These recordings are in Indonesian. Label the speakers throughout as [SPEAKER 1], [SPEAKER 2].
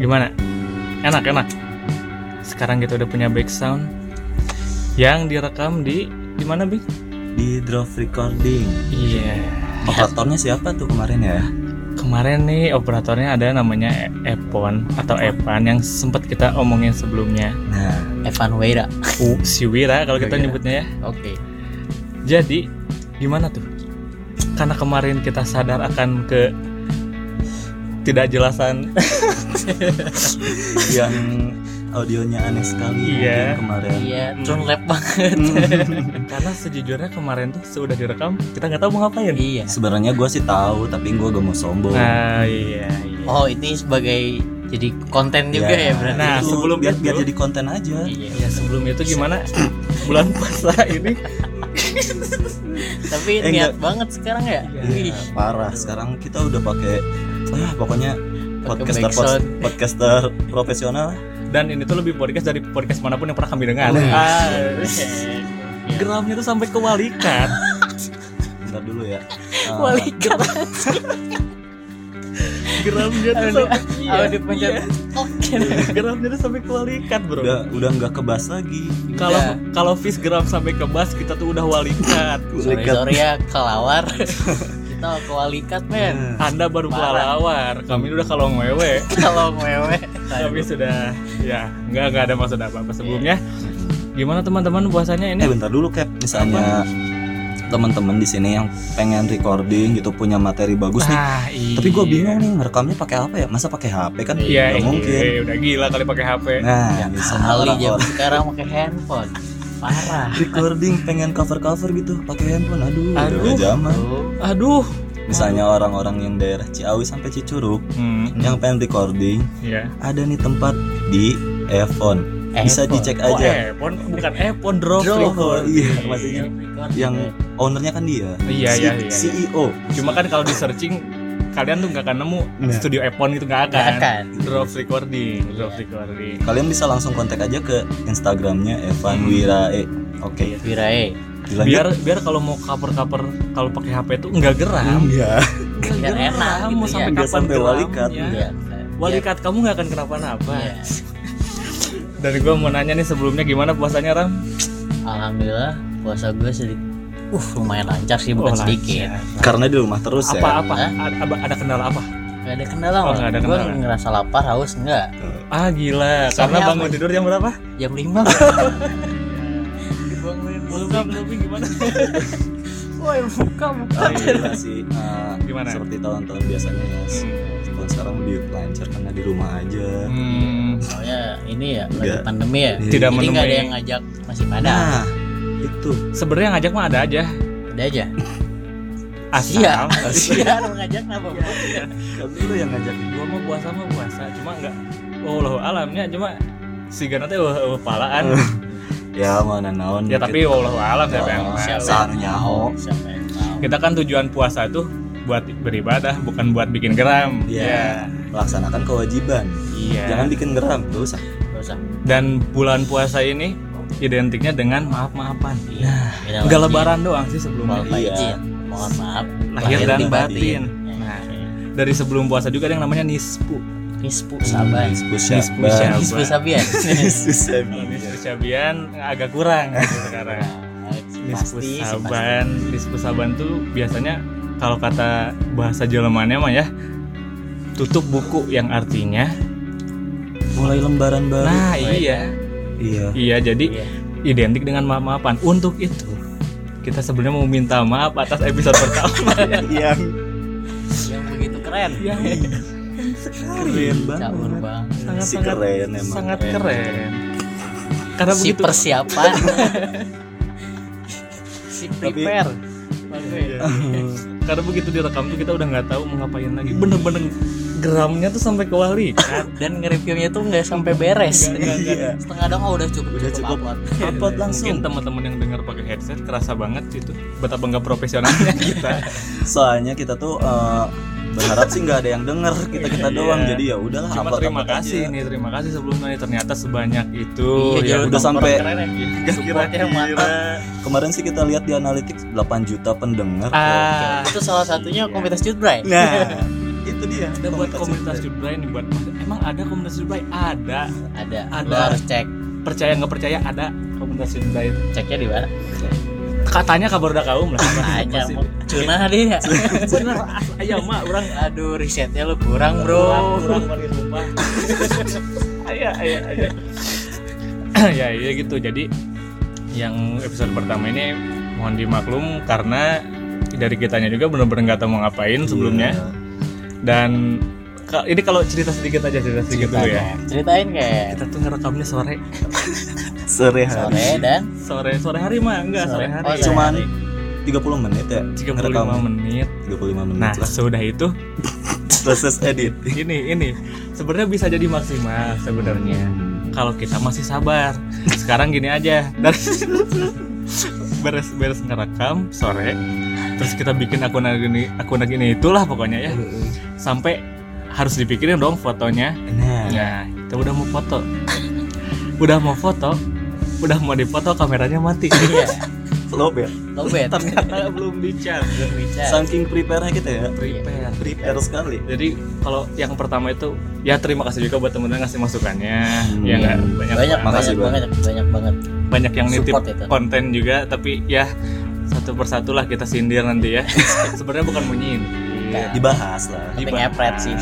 [SPEAKER 1] Gimana? Enak, enak. Sekarang kita udah punya back sound yang direkam di di mana, Big?
[SPEAKER 2] di drop recording
[SPEAKER 1] Iya.
[SPEAKER 2] operatornya siapa tuh kemarin ya
[SPEAKER 1] Kemarin nih operatornya ada namanya E- Epon atau Epan yang sempat kita omongin sebelumnya.
[SPEAKER 2] nah
[SPEAKER 3] Evan Weira.
[SPEAKER 1] U si Wira kalau kita
[SPEAKER 3] Wira.
[SPEAKER 1] nyebutnya ya.
[SPEAKER 3] Oke.
[SPEAKER 1] Jadi gimana tuh? Karena kemarin kita sadar akan ke tidak jelasan
[SPEAKER 2] yang audionya aneh sekali
[SPEAKER 1] Iya.
[SPEAKER 2] mungkin kemarin
[SPEAKER 3] Iya, turun lab banget.
[SPEAKER 1] karena sejujurnya kemarin tuh sudah direkam kita nggak tahu mau ngapain
[SPEAKER 3] iya.
[SPEAKER 2] sebenarnya gue sih tahu tapi gue gak mau sombong
[SPEAKER 1] nah iya, iya.
[SPEAKER 3] Oh, ini sebagai jadi
[SPEAKER 2] Iya.
[SPEAKER 3] konten juga ya, berarti.
[SPEAKER 1] Nah,
[SPEAKER 2] itu
[SPEAKER 1] sebelum
[SPEAKER 2] biar,
[SPEAKER 1] itu-
[SPEAKER 2] biar jadi konten aja
[SPEAKER 3] Iya.
[SPEAKER 1] ya sebelum itu gimana bulan puasa ini
[SPEAKER 3] Tapi
[SPEAKER 2] Eh,
[SPEAKER 3] niat banget sekarang ya.
[SPEAKER 1] Iya.
[SPEAKER 3] Wih.
[SPEAKER 2] parah sekarang kita udah pakai ah pokoknya podcaster
[SPEAKER 3] backsound.
[SPEAKER 2] podcaster profesional
[SPEAKER 1] dan ini tuh lebih podcast dari podcast manapun yang pernah kami dengar
[SPEAKER 2] Wih.
[SPEAKER 1] Ah,
[SPEAKER 3] Iya.
[SPEAKER 1] geramnya tuh sampai ke walikat
[SPEAKER 2] bentar dulu ya Ah,
[SPEAKER 3] Wali kata
[SPEAKER 1] geramnya tuh
[SPEAKER 3] Aduh,
[SPEAKER 1] sampai iya,
[SPEAKER 3] audio pencet.
[SPEAKER 1] iya.
[SPEAKER 3] Oke.
[SPEAKER 1] geramnya tuh sampai ke walikat bro
[SPEAKER 2] udah udah nggak kebas lagi
[SPEAKER 1] kalau
[SPEAKER 2] Ya.
[SPEAKER 3] Udah.
[SPEAKER 1] kalau fish geram sampai ke bas kita tuh udah walikat
[SPEAKER 3] Sorry, sorry ya kelawar. Kita kewalikat, men.
[SPEAKER 1] anda baru
[SPEAKER 3] Parah.
[SPEAKER 1] kelawar kami udah kalau ngewe
[SPEAKER 3] Kalau mewe.
[SPEAKER 1] tapi sudah ya nggak nggak ada maksud apa apa sebelumnya gimana teman-teman puasanya ini
[SPEAKER 2] Iya. Eh bentar dulu Cap, misalnya teman-teman di sini yang pengen recording gitu punya materi bagus nih.
[SPEAKER 1] Ah, iya.
[SPEAKER 2] Tapi gue bingung nih ngerekamnya pakai apa ya? Masa pakai HP kan?
[SPEAKER 1] Iya,
[SPEAKER 2] Nggak
[SPEAKER 1] iya,
[SPEAKER 2] mungkin.
[SPEAKER 1] iya, udah gila kali pakai HP.
[SPEAKER 2] Nah, misalnya
[SPEAKER 3] Kali
[SPEAKER 2] orang
[SPEAKER 3] jam
[SPEAKER 2] orang
[SPEAKER 3] sekarang pakai handphone. Parah.
[SPEAKER 2] recording pengen cover-cover gitu pakai handphone. Aduh, udah
[SPEAKER 1] Aduh.
[SPEAKER 2] nggak zaman.
[SPEAKER 3] Tuh.
[SPEAKER 1] Aduh.
[SPEAKER 2] Misalnya orang-orang yang daerah Ciawi sampai Cicurug
[SPEAKER 1] Hmm,
[SPEAKER 2] yang pengen recording,
[SPEAKER 1] iya.
[SPEAKER 2] ada nih tempat di Evon. Bisa
[SPEAKER 3] Handphone.
[SPEAKER 2] dicek
[SPEAKER 1] Oh,
[SPEAKER 2] aja.
[SPEAKER 1] Epon bukan Epon drop.
[SPEAKER 3] Drop.
[SPEAKER 1] record.
[SPEAKER 2] Iya, maksudnya Yang ownernya kan dia.
[SPEAKER 1] Iya,
[SPEAKER 2] Si- E
[SPEAKER 1] iya, iya. iya.
[SPEAKER 2] CEO.
[SPEAKER 1] Cuma kan kalau di searching kalian tuh nggak akan nemu
[SPEAKER 2] Nah.
[SPEAKER 1] studio Epon gitu nggak
[SPEAKER 3] Nggak
[SPEAKER 1] akan.
[SPEAKER 3] akan.
[SPEAKER 1] Drop recording, drop recording.
[SPEAKER 2] Kalian bisa langsung kontak aja ke Instagramnya Evan Wirae. Oke,
[SPEAKER 3] Wirae.
[SPEAKER 1] Iya.
[SPEAKER 2] dilanjut.
[SPEAKER 1] Biar biar kalau mau cover-cover kalau pakai HP tuh nggak geram.
[SPEAKER 2] Enggak.
[SPEAKER 1] Nggak
[SPEAKER 3] Biar
[SPEAKER 1] geram,
[SPEAKER 3] enak
[SPEAKER 1] mau sampai
[SPEAKER 2] Hmm.
[SPEAKER 3] gitu ya.
[SPEAKER 2] Nggak
[SPEAKER 1] kapan
[SPEAKER 2] sampai
[SPEAKER 1] geram,
[SPEAKER 2] walikat,
[SPEAKER 1] ya.
[SPEAKER 3] Iya.
[SPEAKER 1] Walikat kamu nggak akan kenapa-napa.
[SPEAKER 3] Iya.
[SPEAKER 1] Dari gua mau nanya nih sebelumnya gimana puasanya Ram?
[SPEAKER 3] Alhamdulillah puasa gue sedikit. Uh, lumayan lancar sih bukan
[SPEAKER 1] Oh,
[SPEAKER 3] sedikit.
[SPEAKER 1] lancar.
[SPEAKER 2] Karena di rumah terus ya.
[SPEAKER 1] Apa-apa?
[SPEAKER 3] Hah?
[SPEAKER 1] Ada, apa- ada kendala apa?
[SPEAKER 3] Gak ada kendala
[SPEAKER 1] Oh,
[SPEAKER 3] malah.
[SPEAKER 1] nggak ada
[SPEAKER 3] Gue
[SPEAKER 1] kendala.
[SPEAKER 3] ngerasa lapar haus enggak.
[SPEAKER 1] Ah gila, karena
[SPEAKER 3] Soalnya apa?
[SPEAKER 1] bangun tidur jam berapa?
[SPEAKER 3] Jam 5 Dibangunin buka
[SPEAKER 1] lebih gimana?
[SPEAKER 3] Woi buka buka.
[SPEAKER 1] Oh,
[SPEAKER 2] Ah, iya sih. Ah,
[SPEAKER 1] Eh, Gimana?
[SPEAKER 2] Seperti tahun-tahun biasanya ya. Tahun sekarang lebih lancar karena di rumah aja.
[SPEAKER 1] Hmm,
[SPEAKER 3] Soalnya ini ya lagi
[SPEAKER 2] Nggak.
[SPEAKER 3] pandemi ya.
[SPEAKER 2] Iya.
[SPEAKER 1] tidak
[SPEAKER 3] Jadi nggak ada yang
[SPEAKER 1] menemui.
[SPEAKER 3] ngajak masih pada.
[SPEAKER 2] Nah, itu
[SPEAKER 1] Sebenarnya ngajak mah ada aja.
[SPEAKER 3] Ada aja.
[SPEAKER 1] Asal.
[SPEAKER 3] Iya. Iya lu ngajak kenapa?
[SPEAKER 2] kan lu yang ngajak
[SPEAKER 1] Gua mau puasa mau puasa, cuma enggak. Oh loh alamnya cuma si Gana teh wah wah palaan.
[SPEAKER 2] ya mana naon
[SPEAKER 1] ya tapi wallahu alam siapa yang
[SPEAKER 2] Oh,
[SPEAKER 1] tahu.
[SPEAKER 2] siapa? Sanu nyaho.
[SPEAKER 3] Siapa yang tahu?
[SPEAKER 1] Kita kan tujuan puasa tuh buat beribadah, bukan buat bikin geram.
[SPEAKER 3] Iya.
[SPEAKER 2] ya laksanakan kewajiban
[SPEAKER 1] Iya.
[SPEAKER 2] jangan bikin geram gak usah
[SPEAKER 3] Gak usah.
[SPEAKER 1] Dan bulan puasa ini identiknya dengan maaf-maafan.
[SPEAKER 3] Iya.
[SPEAKER 1] Enggak
[SPEAKER 3] Beda lagi.
[SPEAKER 1] Nah, lebaran doang sih
[SPEAKER 3] Mohon
[SPEAKER 1] sebelumnya.
[SPEAKER 2] Iya.
[SPEAKER 3] izin. ya. Mohon maaf.
[SPEAKER 1] Lahir dan batin.
[SPEAKER 3] Nah,
[SPEAKER 1] Nah, dari sebelum puasa juga ada yang namanya nispu.
[SPEAKER 3] Nispu Saban.
[SPEAKER 1] Nisbu
[SPEAKER 2] Nisbu Syaban.
[SPEAKER 1] Syaban.
[SPEAKER 3] Nispu Sabian.
[SPEAKER 2] Nisbu Syaban.
[SPEAKER 1] Nispu Sabian agak kurang gitu sekarang. Nispu
[SPEAKER 3] Nah, Pasti sih, pasti.
[SPEAKER 1] Saban, Nispu Saban tuh biasanya kalau kata bahasa Jermannya mah ya tutup buku yang artinya
[SPEAKER 2] mulai lembaran baru
[SPEAKER 1] nah iya
[SPEAKER 2] iya
[SPEAKER 1] iya jadi
[SPEAKER 3] Iya.
[SPEAKER 1] identik dengan maaf-maafan untuk itu kita sebenarnya mau minta maaf atas episode pertama Ya,
[SPEAKER 2] yang
[SPEAKER 3] Yang begitu keren.
[SPEAKER 1] yang
[SPEAKER 2] keren
[SPEAKER 3] Cabur
[SPEAKER 2] banget Iya.
[SPEAKER 3] bang.
[SPEAKER 1] sangat
[SPEAKER 2] si
[SPEAKER 1] sangat
[SPEAKER 2] keren emang
[SPEAKER 1] sangat keren karena
[SPEAKER 3] si
[SPEAKER 1] begitu
[SPEAKER 3] persiapan si
[SPEAKER 2] Tapi-
[SPEAKER 3] prepare
[SPEAKER 1] Iya. karena begitu direkam tuh kita udah nggak tahu mau ngapain lagi bener-bener geramnya tuh sampai ke wali
[SPEAKER 3] dan nge-reviewnya tuh nggak sampai beres
[SPEAKER 2] Iya.
[SPEAKER 3] setengah dong oh, udah cukup
[SPEAKER 2] Udah cukup.
[SPEAKER 3] upload.
[SPEAKER 2] upload
[SPEAKER 1] mungkin
[SPEAKER 2] langsung
[SPEAKER 1] teman-teman yang dengar pakai headset kerasa banget itu betapa nggak profesionalnya kita
[SPEAKER 2] soalnya kita tuh eh, berharap sih nggak ada yang denger kita kita
[SPEAKER 1] Iya.
[SPEAKER 2] doang jadi ya udahlah
[SPEAKER 1] cuma
[SPEAKER 2] upload
[SPEAKER 1] terima
[SPEAKER 2] upload
[SPEAKER 1] kasih
[SPEAKER 2] aja.
[SPEAKER 1] nih terima kasih sebelumnya nih ternyata sebanyak itu
[SPEAKER 3] Iya,
[SPEAKER 2] udah
[SPEAKER 3] dong,
[SPEAKER 2] sampai-
[SPEAKER 3] keren ya.
[SPEAKER 1] Gak
[SPEAKER 3] Supportnya mantap.
[SPEAKER 2] kemarin sih kita lihat di analitik 8 juta pendengar
[SPEAKER 1] ah
[SPEAKER 3] Nah,
[SPEAKER 2] Iya.
[SPEAKER 3] itu salah satunya komunitas Jutbray
[SPEAKER 2] nah itu itu dia
[SPEAKER 1] Kita buat komunitas Judblain buat emang ada komunitas Judblain? Ada.
[SPEAKER 3] ada
[SPEAKER 1] Ada.
[SPEAKER 3] lo harus cek
[SPEAKER 1] Percaya nggak percaya ada komunitas Judblain.
[SPEAKER 3] ceknya di mana
[SPEAKER 1] Katanya kabar udah kaum lah.
[SPEAKER 2] Iya,
[SPEAKER 3] aja
[SPEAKER 1] Masih-
[SPEAKER 3] mau cunah deh
[SPEAKER 1] Bener, ayo mah orang
[SPEAKER 3] aduh risetnya lo kurang bro
[SPEAKER 1] kurang paling rumah. Ayo, ayo, ayo. ya, ya gitu. Jadi yang episode pertama ini mohon dimaklum karena dari kitanya juga bener-bener nggak tahu mau
[SPEAKER 2] Iya.
[SPEAKER 1] ngapain sebelumnya dan ka- ini kalau cerita sedikit aja cerita sedikit dulu ya
[SPEAKER 3] ceritain kayak
[SPEAKER 1] kita tuh ngerekamnya sore
[SPEAKER 2] sore hari
[SPEAKER 3] sore dan
[SPEAKER 1] sore sore hari mah enggak sore,
[SPEAKER 3] Sore.
[SPEAKER 1] hari iya.
[SPEAKER 3] Oh,
[SPEAKER 2] cuman 30 menit ya
[SPEAKER 1] 35
[SPEAKER 2] ngerekam.
[SPEAKER 1] menit
[SPEAKER 2] 35 menit
[SPEAKER 1] nah
[SPEAKER 2] lah
[SPEAKER 1] sudah itu
[SPEAKER 2] proses edit
[SPEAKER 1] ini ini sebenarnya bisa jadi maksimal sebenarnya kalau kita masih sabar sekarang gini aja dari beres beres ngerekam sore terus kita bikin akun gini akun gini itulah pokoknya ya sampai harus dipikirin dong fotonya
[SPEAKER 2] nah
[SPEAKER 1] Nah, kita udah mau foto. udah mau foto, udah mau dipoto kameranya mati.
[SPEAKER 3] iya
[SPEAKER 2] lobel
[SPEAKER 3] lo bet
[SPEAKER 1] Ternyata belum dicat. Iya.
[SPEAKER 2] saking prepare nya kita ya
[SPEAKER 1] Prepare.
[SPEAKER 2] prepare sekali
[SPEAKER 1] Jadi kalau yang pertama itu ya terima kasih juga buat teman-teman yang ngasih masukannya.
[SPEAKER 2] Hmm.
[SPEAKER 1] Ya enggak banyak
[SPEAKER 3] Iya. banyak
[SPEAKER 1] banget.
[SPEAKER 2] Makasih
[SPEAKER 3] banyak banget banyak banget
[SPEAKER 1] banyak yang nitip
[SPEAKER 3] Support itu.
[SPEAKER 1] konten juga tapi ya satu persatu lah kita sindir nanti ya. Sebenarnya bukan mau nyindir.
[SPEAKER 2] dibahas lah
[SPEAKER 3] Tapi ngepret sih.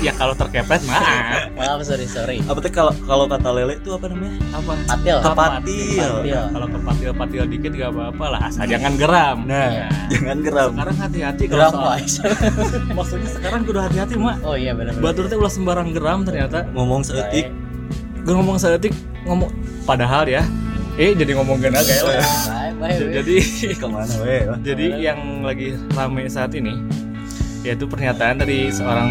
[SPEAKER 1] Ya kalau terkepret maaf.
[SPEAKER 3] maaf sorry sorry
[SPEAKER 2] apa tuh kalau kalau kata lele itu apa namanya
[SPEAKER 1] Apa?
[SPEAKER 3] patil
[SPEAKER 2] kepatil
[SPEAKER 3] Kepatil.
[SPEAKER 1] Kalau kepatil-patil dikit gak apa-apa lah asal jangan geram. Iya.
[SPEAKER 3] Nah.
[SPEAKER 2] jangan geram
[SPEAKER 1] sekarang hati-hati kalau
[SPEAKER 3] geram
[SPEAKER 1] soal
[SPEAKER 3] guys
[SPEAKER 1] maksudnya sekarang gue udah hati-hati mak
[SPEAKER 3] oh iya benar benar
[SPEAKER 1] batur teh ulah sembarang geram ternyata
[SPEAKER 2] ngomong seetik
[SPEAKER 1] gue ngomong seetik ngomong padahal ya eh jadi ngomong gena kayak lah.
[SPEAKER 3] bye bye bye
[SPEAKER 1] jadi
[SPEAKER 2] kemana weh
[SPEAKER 1] jadi yang lagi rame saat ini yaitu pernyataan dari seorang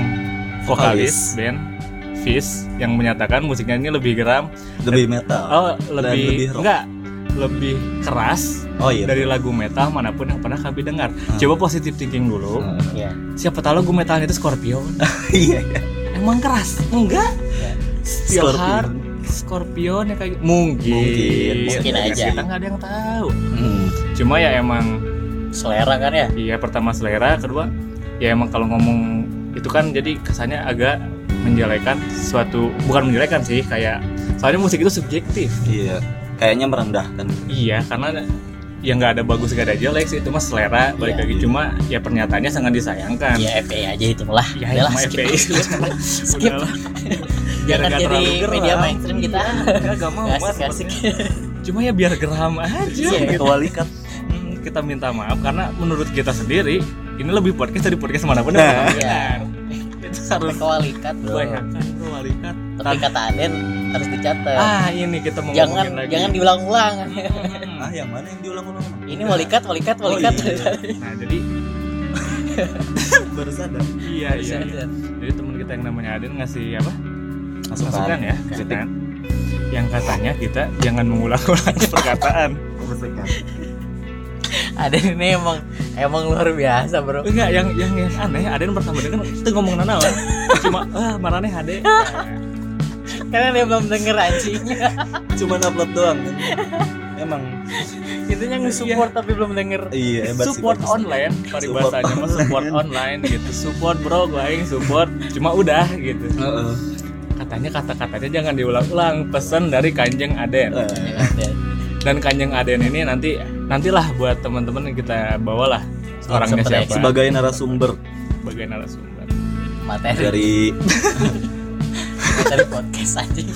[SPEAKER 1] vokalis
[SPEAKER 2] Vokalis.
[SPEAKER 1] band Fish yang menyatakan musiknya ini lebih geram
[SPEAKER 2] lebih metal
[SPEAKER 1] oh
[SPEAKER 2] lebih
[SPEAKER 1] lebih,
[SPEAKER 2] rock.
[SPEAKER 1] enggak lebih keras
[SPEAKER 2] oh iya Ah.
[SPEAKER 1] dari lagu metal manapun yang pernah kami dengar coba positive thinking dulu
[SPEAKER 2] Nah,
[SPEAKER 3] Iya.
[SPEAKER 1] siapa tahu lagu metalnya itu Scorpion
[SPEAKER 2] iya iya.
[SPEAKER 1] Emang keras? Enggak.
[SPEAKER 3] Ya.
[SPEAKER 1] Steelheart, Scorpion ya kayak mungkin.
[SPEAKER 2] Mungkin,
[SPEAKER 3] mungkin aja.
[SPEAKER 1] Kita nggak ada yang tahu.
[SPEAKER 2] Hmm.
[SPEAKER 1] Cuma ya emang
[SPEAKER 3] selera kan ya
[SPEAKER 1] iya pertama selera, kedua ya emang kalau ngomong itu kan jadi kesannya agak menjelekan suatu bukan menjelekan sih kayak soalnya musik itu subjektif
[SPEAKER 2] iya kayaknya merendahkan
[SPEAKER 1] iya karena yang nggak ada bagus nggak ada jelek sih itu mah selera balik
[SPEAKER 3] Iya.
[SPEAKER 1] lagi cuma ya pernyataannya sangat disayangkan
[SPEAKER 3] ya FPI aja itu lah
[SPEAKER 1] Kan. ya
[SPEAKER 3] Udah lah,
[SPEAKER 1] emang
[SPEAKER 3] skip.
[SPEAKER 1] FPI
[SPEAKER 3] Skip.
[SPEAKER 1] Udahlah. Biar
[SPEAKER 3] jangan
[SPEAKER 1] nggak
[SPEAKER 3] jadi
[SPEAKER 1] terlalu geram.
[SPEAKER 3] media mainstream kita
[SPEAKER 1] Nggak, nggak mau
[SPEAKER 3] Nggak
[SPEAKER 1] Mas,
[SPEAKER 3] asik asik
[SPEAKER 1] cuma ya biar geram aja
[SPEAKER 3] Iya.
[SPEAKER 1] gitu.
[SPEAKER 2] ketua likat
[SPEAKER 1] Hmm, kita minta maaf karena menurut kita sendiri ini lebih podcast dari podcast manapun
[SPEAKER 2] Nah.
[SPEAKER 1] yang
[SPEAKER 3] Iya.
[SPEAKER 1] benar itu
[SPEAKER 3] sampai
[SPEAKER 1] harus
[SPEAKER 3] ke walikat bro
[SPEAKER 1] kebanyakan tuh walikat
[SPEAKER 3] tapi kata Aden harus dicatat
[SPEAKER 1] ah ini kita mau
[SPEAKER 3] jangan
[SPEAKER 1] ngomongin lagi
[SPEAKER 3] jangan diulang-ulang
[SPEAKER 1] Hmm.
[SPEAKER 2] ah yang mana yang diulang-ulang
[SPEAKER 3] ini walikat walikat
[SPEAKER 2] Oh,
[SPEAKER 3] walikat
[SPEAKER 2] iya.
[SPEAKER 1] nah jadi
[SPEAKER 2] baru sadar
[SPEAKER 1] iya iya, iya. jadi teman kita yang namanya Aden ngasih apa masukan
[SPEAKER 2] masukan
[SPEAKER 1] ya
[SPEAKER 2] kritik.
[SPEAKER 1] masukan yang katanya kita jangan mengulang-ulang perkataan
[SPEAKER 3] Aden ini emang emang luar biasa bro
[SPEAKER 1] enggak yang yang yang aneh Aden pertama dengar kan itu ngomong nanawan cuma ah marane hade Iya.
[SPEAKER 3] karena dia belum denger anjingnya
[SPEAKER 2] cuman upload doang kan? emang
[SPEAKER 3] itunya nge-support tapi belum denger
[SPEAKER 2] iya hebat sih
[SPEAKER 1] support
[SPEAKER 2] bagus.
[SPEAKER 1] online paribasanya mah support online gitu support bro gue aing support cuma udah gitu
[SPEAKER 2] Heeh. Eh,
[SPEAKER 1] katanya kata-katanya jangan diulang-ulang pesan dari kanjeng Aden
[SPEAKER 2] Eh,
[SPEAKER 1] dan kanjeng Aden ini nanti nantilah buat teman-teman yang kita bawalah orangnya
[SPEAKER 3] Sumber
[SPEAKER 1] siapa
[SPEAKER 2] sebagai narasumber
[SPEAKER 1] sebagai narasumber
[SPEAKER 3] materi
[SPEAKER 2] dari
[SPEAKER 3] materi podcast anjing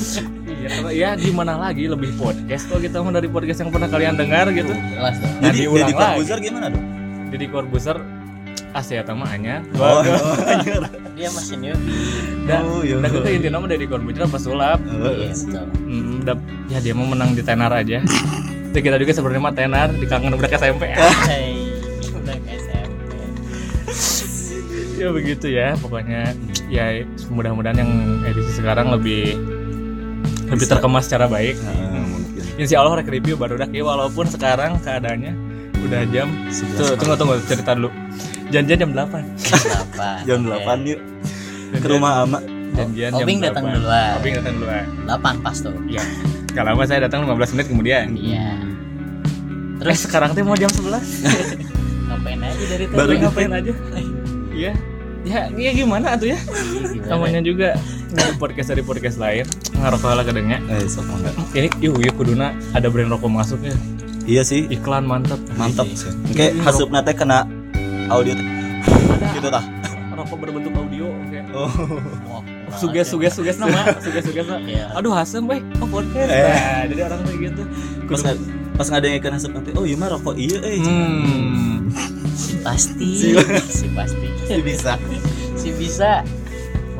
[SPEAKER 1] Iya, karena ya gimana lagi lebih podcast kok kita mau dari podcast yang pernah kalian dengar gitu
[SPEAKER 3] jelas dong
[SPEAKER 1] Nah,
[SPEAKER 2] jadi
[SPEAKER 1] diulang
[SPEAKER 2] jadi
[SPEAKER 1] lagi.
[SPEAKER 2] komposer gimana dong
[SPEAKER 1] jadi Corbuzier ah, Asia tamanya
[SPEAKER 2] oh,
[SPEAKER 1] dan
[SPEAKER 3] dia masih newbie
[SPEAKER 2] oh, iya.
[SPEAKER 1] dan itu intinya mah dari Corbuzier pas sulap
[SPEAKER 2] Heeh.
[SPEAKER 3] iya betul
[SPEAKER 1] Hmm, udah- ya dia mau menang di tenar aja. Itu kita juga sebenarnya mah tenar di kangen udah ke SMP.
[SPEAKER 3] Hei, udah ke SMP.
[SPEAKER 1] ya begitu ya, pokoknya ya mudah-mudahan yang edisi sekarang lebih lebih terkemas secara baik.
[SPEAKER 2] Nah, mungkin.
[SPEAKER 1] Insya Allah rek review baru dah ya, walaupun sekarang keadaannya udah jam tuh, tunggu tunggu cerita dulu. Janjian jam 8.
[SPEAKER 3] Delapan.
[SPEAKER 2] jam 8 yuk ke rumah ama
[SPEAKER 1] Janjian jam
[SPEAKER 3] Obing datang
[SPEAKER 1] 8.
[SPEAKER 3] duluan.
[SPEAKER 1] Obing datang duluan.
[SPEAKER 3] Delapan pas tuh.
[SPEAKER 1] Iya. Gak lama saya datang 15 menit kemudian. Eh,
[SPEAKER 3] Iya.
[SPEAKER 1] Terus sekarang teh mau jam 11.
[SPEAKER 3] Ngapain aja dari tadi?
[SPEAKER 2] Baru
[SPEAKER 1] ngapain aja? Iya. ya ya gimana atuh ya
[SPEAKER 3] Iya,
[SPEAKER 1] namanya juga ini podcast dari podcast lain ngarokok lah kadangnya
[SPEAKER 2] Eh, sok enggak.
[SPEAKER 1] ini yuk yuk kuduna ada brand rokok masuknya
[SPEAKER 2] Iya sih,
[SPEAKER 1] iklan mantap
[SPEAKER 2] mantap.
[SPEAKER 1] iya,
[SPEAKER 2] Oke, hasup nate kena audio teh. gitu tah.
[SPEAKER 1] rokok berbentuk audio kayak
[SPEAKER 2] Oh.
[SPEAKER 1] Nah, suges suges suges nama suges suges nama.
[SPEAKER 3] Iya.
[SPEAKER 1] aduh hasem weh oh podcast
[SPEAKER 2] Eh.
[SPEAKER 1] Nah, jadi orang kayak gitu
[SPEAKER 2] Pas nga- pas ada yang kena hasup nate. Oh, iya mah rokok iya eh.
[SPEAKER 1] hmm
[SPEAKER 3] pasti
[SPEAKER 2] Si-
[SPEAKER 3] si pasti
[SPEAKER 2] Sih bisa.
[SPEAKER 3] si bisa